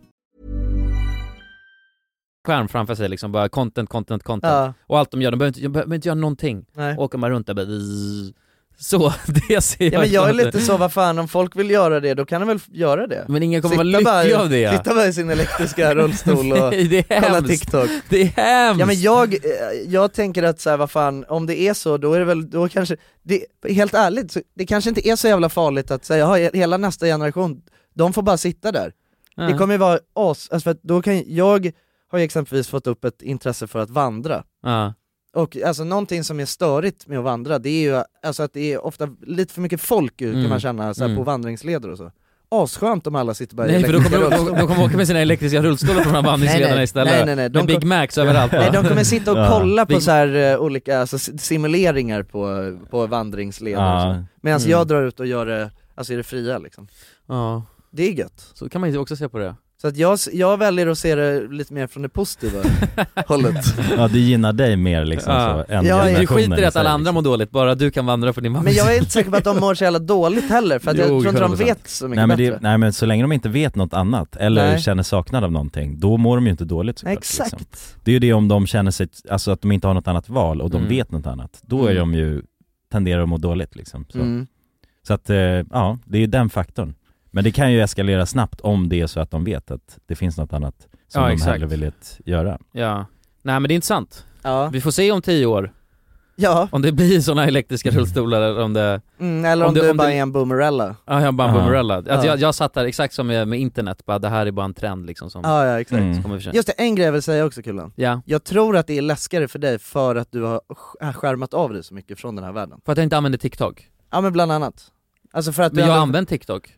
skärm framför sig liksom, bara content, content, content.
Ja.
Och allt de gör, de behöver inte, de behöver inte göra någonting.
Nej.
Åker man runt där bara zzz. Så, det ser jag
Ja, men jag är
inte.
lite så, vad fan om folk vill göra det, då kan de väl f- göra det?
Men ingen kommer vara
Sitta
lycklig
bara-
av det.
Sitta bara i sin elektriska rullstol och
Nej, det är
kolla
hemskt.
TikTok.
Det är hemskt!
Ja men jag, eh, jag tänker att så här, vad fan, om det är så, då är det väl, då kanske, det, helt ärligt, så, det kanske inte är så jävla farligt att säga, "Jaha, hela nästa generation, de får bara sitta där.
Nej.
Det kommer ju vara oss, alltså för att då kan, jag har ju exempelvis fått upp ett intresse för att vandra.
Ja.
Och alltså någonting som är störigt med att vandra, det är ju alltså att det är ofta lite för mycket folk ut,
Mm.
kan man känna så här,
Mm.
på vandringsleder och så. Asskönt om alla sitter bara i
Nej för då
elektriska
kommer de,
rullstolar.
de kommer åka med sina elektriska rullstolar på de här
Nej,
vandringsledarna
nej.
istället.
Nej, nej, nej. De
med Big
kom-
Macs överallt
Nej, de kommer sitta och kolla på
Big-
så här eh, olika alltså, si- simuleringar på, på vandringsleder och
Ja.
så. Medan
Mm.
jag drar ut och gör det, alltså i det fria liksom.
Ja.
Det är gött.
Så kan man ju också se på det.
Så att jag, s- jag väljer att se det lite mer från det positiva hållet.
Ja, det gynnar dig mer liksom
Ja.
så, än
Ja, du
generationen
skiter i att
sig, liksom.
alla andra mår dåligt, bara du kan vandra för din mamma.
Men jag är inte säker på att de mår så jävla dåligt heller, för att jag
Jo,
tror inte de
100%.
vet så mycket
nej, men
bättre.
det, nej men så länge de inte vet något annat eller
Nej.
känner saknad av någonting, då mår de ju inte dåligt såklart, liksom.
Nej, exakt.
Det är ju det om de känner sig, alltså att de inte har något annat val och de
Mm.
vet något annat, då är
Mm.
de ju, tenderar de att må dåligt liksom. Så,
Mm.
så att, eh, ja, det är ju den faktorn. Men det kan ju eskalera snabbt om det är så att de vet att det finns något annat som
Ja,
de
exakt.
hellre vill göra.
Ja. Nej men det är intressant.
Ja.
Vi får se om tio år.
Ja.
Om det blir sådana elektriska rullstolar eller om det... Mm.
Mm, eller om, du bara är en boomerella.
Ja, jag bara en
Ja.
boomerella. Alltså,
Ja.
jag, jag satt där exakt som med, med internet, bara det här är bara en trend liksom som
Ja, ja exakt.
Mm.
som kommer försvinna.
Just det, en grej jag vill säga också Kulan.
Ja.
Jag tror att det är läskigare för dig för att du har sk- skärmat av dig så mycket från den här världen.
För att jag inte använder TikTok.
Ja men bland annat. Alltså för att
Men jag
du
har
ändå-
använt TikTok.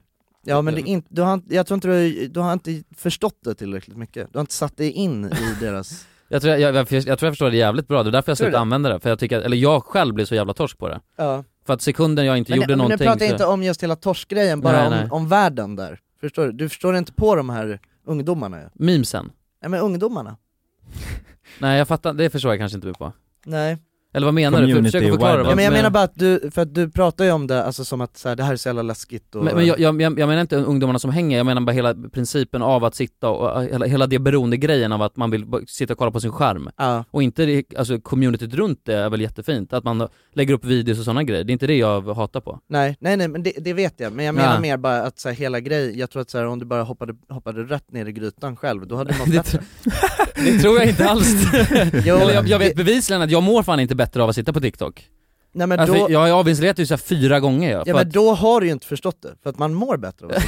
Ja men det är inte, du har, inte- jag tror inte du, du har inte förstått det tillräckligt mycket. Du har inte satt dig in i deras...
Jag tror jag, jag, jag, jag, tror jag förstår det jävligt bra, det är därför jag
Tror du
slutade
det?
använda det. För jag tycker att, eller jag själv blev så jävla torsk på det.
Ja.
För att sekunden jag inte
Men,
gjorde
men nu
någonting
pratar jag
så-
inte om just hela torskgrejen, bara
Nej,
om,
nej.
om världen där. Förstår du? Du förstår inte på de här ungdomarna ju.
Memesen?
Nej men ungdomarna.
Nej jag fattar, det förstår jag kanske inte du på.
Nej.
Eller vad menar du? För- Försök att förklara
Ja,
vad
men jag
som är-
menar bara att du, för att du pratar ju om det alltså som att så här, det här är så jävla läskigt och...
Men, men jag, jag, jag jag menar inte ungdomarna som hänger, jag menar bara hela principen av att sitta och och hela, hela det beroendegrejen av att man vill bara sitta och kolla på sin skärm.
Ja.
Och inte det, alltså communityt runt det är väl jättefint, att man lägger upp videos och sådana grejer, det är inte det jag hatar på.
Nej, nej, nej men det, det vet jag, men jag menar
Ja.
mer bara att så här, hela grejen, jag tror att så här, om du bara hoppade, hoppade rätt ner i grytan själv, då hade du mått bättre.
Det tror jag inte alls.
Jo,
Eller jag, jag vet bevisligen att jag mår fan inte bättre av att sitta på TikTok.
Nej, men
alltså,
då-
Jag har ju avinställt det så här fyra gånger jag, för
Ja men då har du ju inte förstått det, för att man mår bättre av det.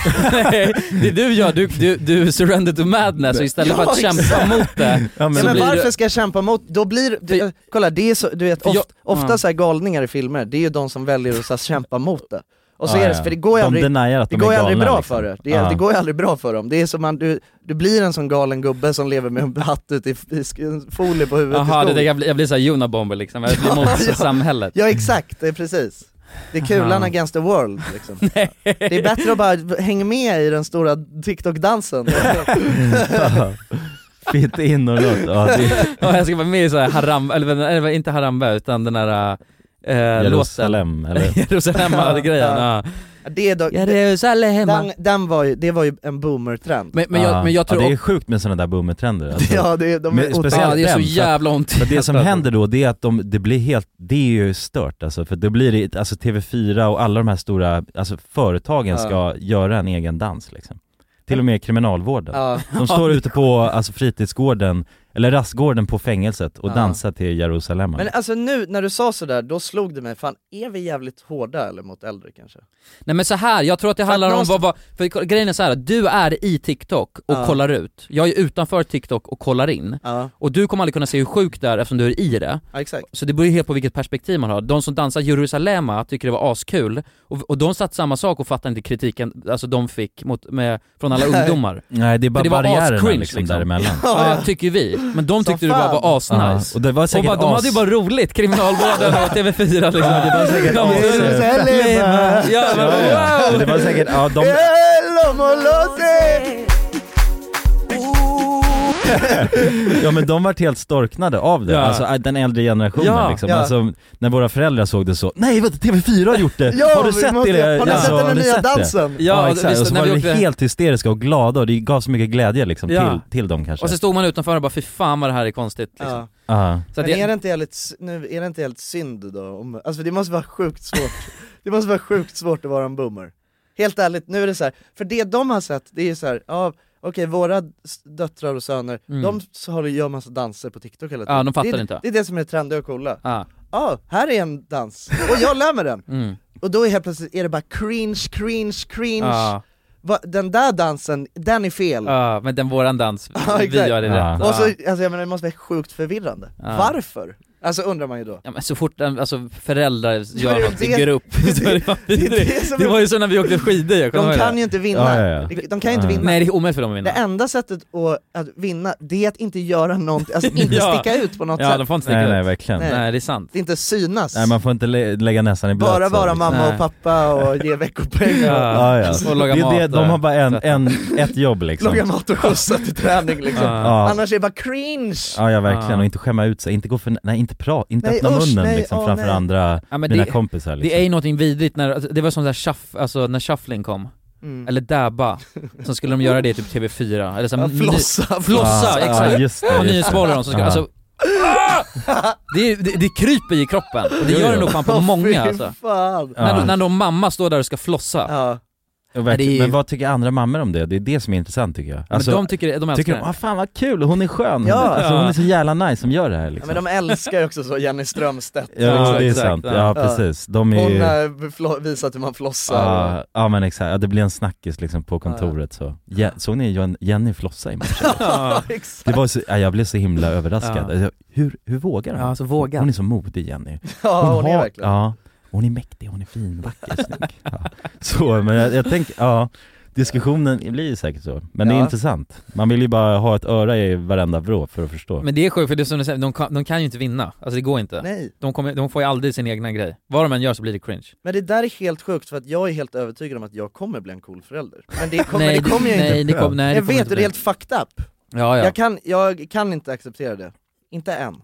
Nej, det du gör, du, du, du surrender to madness och istället för att
Ja,
kämpa
exakt.
mot det
Ja, men,
så blir
varför
du...
ska jag kämpa mot, då blir det, kolla det är så, du vet
För
oft,
jag-
ofta
Ja.
så här galningar i filmer, det är ju de som väljer att så här, kämpa mot det. Och så
Ja,
är det,
ja.
för det går ju
De
aldrig,
deniar att
det
de är
går ju aldrig
galna,
bra
liksom.
för det. Det,
Ja.
det går ju aldrig bra för dem. Det är som att du, du blir en sån galen gubbe som lever med en hatt ute i, i sk- folie på huvudet i
Jaha, det
skogen.
där, jag blir, jag blir såhär Unabomber liksom, jag blir
Ja,
mot
ja.
samhället.
Ja exakt, det är precis. Det är kulan
Aha.
against the world liksom. Det är bättre att bara hänga med i den stora TikTok-dansen.
Fit in och något. Ja, det,
Ja, jag ska vara med i såhär haram, eller, eller inte harambe utan den där eh,
Jerusalem,
låten.
eller?
Jerusalem, ja, grejen. Ja.
Det är dock,
Jerusalem.
Den, den var ju, det var ju en boomer-trend.
Ah. Ja. ja, det är sjukt med sådana där boomertrender alltså.
Ja, det är- de är
Men
otäcka.
speciellt
Ja, det är så
den, för att-
jävla ont.
för att Det som händer då, det är att de, det blir helt, det är ju stört alltså, för då blir det, alltså TV4 och alla de här stora, alltså företagen
Ja.
ska göra en egen dans liksom. Till och med kriminalvården.
Ja.
De står ute på, alltså fritidsgården, eller rastgården på fängelset och
Ja.
dansar till Jerusalem.
Men alltså nu när du sa sådär, då slog det mig, fan är vi jävligt hårda eller mot äldre kanske?
Nej men så här, jag tror att det handlar om vad,
någonstans-
vad, för grejen är så här, du är i TikTok och
Ja.
kollar ut, jag är utanför TikTok och kollar in,
Ja.
och du kommer aldrig kunna se hur sjukt det är eftersom du är i det.
Ja, exakt.
Så det beror ju helt på vilket perspektiv man har. De som dansar Jerusalema tycker det var askul, och, och de satt samma sak och fattade inte kritiken alltså de fick mot, med, från alla
Nej.
ungdomar.
Nej, det är bara
För det var
barriärerna
ascringe,
liksom däremellan.
Ja, tycker vi. Men de
Som
tyckte det bara
fan.
var asnice.
Ja, och det var säkert
bara, De
as-
hade ju bara roligt, kriminalvården och TV4 liksom.
det var säkert
De-
as-
Jerusalem.
Ja, men
Ja, ja.
wow!
Det var säkert, ja de, Ja men de vart helt storknade av det,
Ja.
alltså den äldre generationen
Ja.
liksom.
Ja.
Alltså, när våra föräldrar såg det så, nej vänta TV4 har gjort det!
Ja,
har du
vi
sett
måste-
det?
har ni sett den
har ni
nya
sett det?"
dansen?
Ja, liksom.
Ja,
exakt,
visst,
och så
när
var
vi
de
åkte-
helt hysteriska och glada och det gav så mycket glädje liksom
Ja.
till, till dem kanske.
Och så stod man utanför och bara fy fan vad det här är konstigt liksom.
Ja.
Så att
Men är
jag,
det inte jävligt, s- nu, är det inte jävligt synd då? Om, alltså det måste vara sjukt svårt, det måste vara sjukt svårt att vara en boomer Helt ärligt, nu är det så här. för det de har sett, det är ju så här, ja okej våra s- döttrar och söner,
Mm.
de s- har, gör massa danser på TikTok hela tiden
Ja, de fattar
det, är-
inte.
Det är det som är trendiga och coola
Ja,
ah, här är en dans, och jag lär mig den!
Mm.
Och då är helt plötsligt är det bara cringe, cringe, cringe
Ja.
Va, Den där dansen, den är fel!
ja, men den våran dans,
Ja,
vi
exakt.
gör det rätt.
Och så,
Ja.
alltså, jag menar, det måste vara sjukt förvirrande.
Ja.
Varför? Alltså undrar man ju då.
Ja, men så fort en- alltså, föräldrar gör
det
något i
det-
grupp, så är det fan
det är det
vidrigt.
som är-
Det var ju så när vi åkte skidor, jag kommer
De
ihåg
kan
det.
ju inte vinna. De- de kan ju inte vinna.
Nej det är omöjligt för dem att vinna.
Det enda sättet att, att vinna, det är att inte göra någonting, alltså inte
Ja.
sticka ut på något
Ja,
sätt.
de får inte sticka
Nej
ut.
nej verkligen.
Nej.
det är sant.
Det är inte synas.
Nej man får inte lä- lägga näsan i blöt
Bara
så,
vara
liksom.
mamma och pappa och ge veckopengar.
Ja, ja.
Alltså,
det är det, de har bara en, en, ett jobb liksom.
Laga mat och skjutsa till träning liksom.
Ja.
Annars är det bara cringe!
Ja, ja verkligen, och inte skämma ut sig, inte gå för, nej inte prata, inte
Nej,
öppna
usch,
munnen
nej,
liksom
åh,
framför
nej.
andra,
Ja, men
mina
det-
kompisar liksom.
Det är ju någonting vidrigt när, alltså, det var som där shuff, alltså när shuffling kom
Mm.
Eller dabba, så skulle de göra det i typ TV4, eller så här,
Ja,
ny-
flossa.
flossa,
Ja,
exakt!
ja, just det,
och
just
nyhetsbollar
det.
de som ska,
Ja.
alltså det, är- det, det kryper i kroppen, och det
Jo,
gör det
jo.
nog fan på
Åh, fy
många alltså
fan.
när,
Ja.
när de mamma står där och ska flossa
Ja,
Nej, det
verkligen.
är ju-
Men vad tycker andra mammor om det? Det är det som är intressant tycker jag.
Alltså,
Alltså,
de tycker- de älskar
tycker
det.
ah, fan vad kul, hon är skön,
Ja.
ja. alltså, hon är så jävla nice som gör det här
Ja,
liksom.
men de älskar ju också så Jenny Strömstedt
Ja, det är sant. Ja, precis. De är
Hon
ju-
har flo- visat hur man flossar
Ja, ja men exakt, ja, det blir en snackis liksom på kontoret så. Ja, såg ni Jen- Jenny flossa i matchen?
Ja, exakt.
det var så, ja, jag blev så himla överraskad.
Ja.
Alltså, Hur, hur vågar hon?
Ja, alltså vågar.
Hon är så modig Jenny.
Ja, hon är verkligen.
Ja, hon är mäktig, hon är fin, vacker, snygg. Ja. Så, men jag, jag tänker, ja, diskussionen blir ju säkert så. Men det är
Ja.
intressant. Man vill ju bara ha ett öra i varenda vrå för att förstå.
Men det är sjukt, för det är som du säger, de kan, de kan ju inte vinna, alltså det går inte
Nej.
De, kommer, de får ju aldrig sin egna grej, vad de än gör så blir det cringe
Men det där är helt sjukt för att jag är helt övertygad om att jag kommer bli en cool förälder Men det kommer,
Nej,
det kommer jag
nej,
inte
det kom- nej, det
Jag
kommer
vet,
inte
det är
bli.
helt fucked up
Ja, ja.
Jag, kan, jag kan inte acceptera det, inte än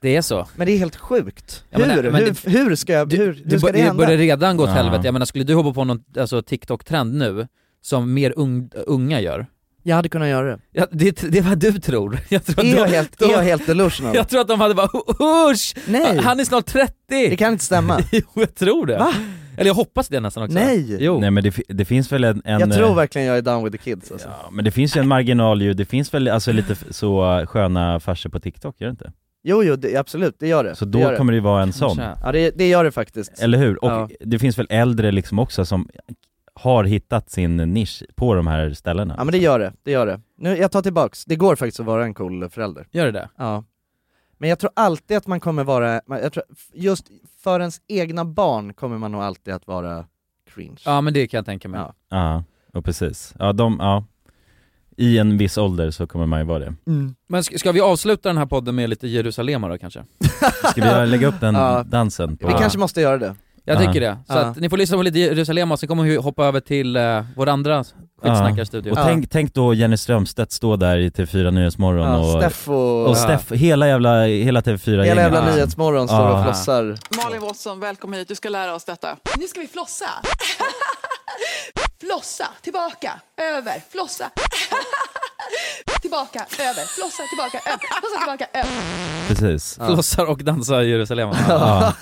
Det är så
Men det är helt sjukt,
Ja,
hur,
men- men
hur, hur ska jag, hur, hur
det,
ska
bör-
det hända?
börjar redan gå åt
Ja.
helvete, jag menar skulle du hoppa på någon alltså, TikTok-trend nu, som mer ung, unga gör?
Jag hade kunnat göra det
Ja, det, det är vad du tror. Jag tror att
Är
de-
jag helt,
de-
är jag helt delusional?
Jag tror att de hade bara usch!
Nej.
Han är snart 30! Det
kan inte stämma
Jo jag tror det.
Va?
Eller jag hoppas det nästan också.
Nej!
Jo. Nej men det, fi- det finns väl en... en
Jag tror
eh,
verkligen jag är down with the kids alltså.
Ja, men det finns ju en marginal ju, det finns väl alltså lite f- så sköna farser på TikTok, gör det inte?
Jo jo, det, absolut, det gör det
Så då
gör
kommer det ju vara en sån.
Ja det, det gör det faktiskt
Eller hur? Och
Ja.
det finns väl äldre liksom också som har hittat sin nisch på de här ställena?
Ja men det gör det, det gör det. Nu, jag tar tillbaks, det går faktiskt att vara en cool förälder.
Gör det det?
Ja. Men jag tror alltid att man kommer vara, man- jag tror, just för ens egna barn kommer man nog alltid att vara cringe.
Ja men det kan jag tänka mig.
Ja, och precis. Ja, de, ja. I en viss ålder så kommer man ju vara det.
Mm.
Men ska, ska vi avsluta den här podden med lite Jerusalem då kanske?
Ska vi göra- lägga upp den dansen? På...
Vi kanske måste göra det.
Jag
Ja.
tycker det. Så
Ja.
att ni får lyssna på lite Jerusalem och sen kommer vi hoppa över till eh, vår andra skitsnackarstudio.
Och tänk, tänk då Jenny Strömstedt stå där i TV4 Nyhetsmorgon
Ja,
och...
Steff och-
och Steff, hela jävla, hela TV4
Hela jävla Nyhetsmorgon står och flossar.
Malin Watson, välkommen hit. Du ska lära oss detta. Nu ska vi flossa. flossa, tillbaka, över, flossa. tillbaka, över, flossa, tillbaka, över, flossa, tillbaka, över.
Precis.
Flossar och dansar i Jerusalem.
Ja.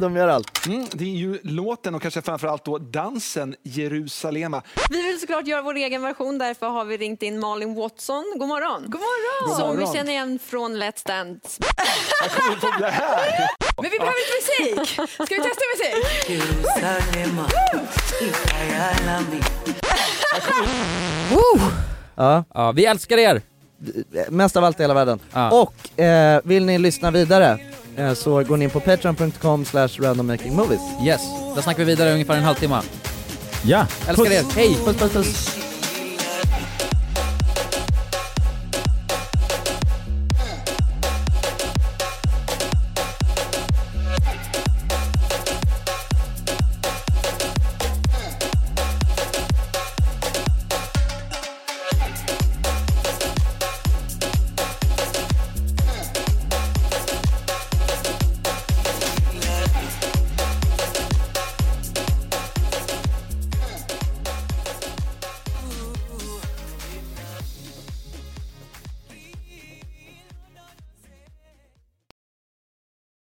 De gör allt.
Mm, det är ju låten och kanske framförallt då dansen Jerusalema.
Vi vill såklart göra vår egen version, därför har vi ringt in Malin Watson. God morgon! God
God
morgon! Som
morgon.
vi känner igen från Let's Dance.
Det här!
Men vi behöver inte musik! Ska vi testa musik?
Woo! Ja.
ja, vi älskar er!
eh, Mest av allt i hela världen. Och eh, vill ni lyssna vidare eh, så går ni in på patreon.com slash randommakingmovies.
Yes, där snackar vi vidare i ungefär en halvtimme.
Ja,
Älskar er, hej!
Puss, puss, puss.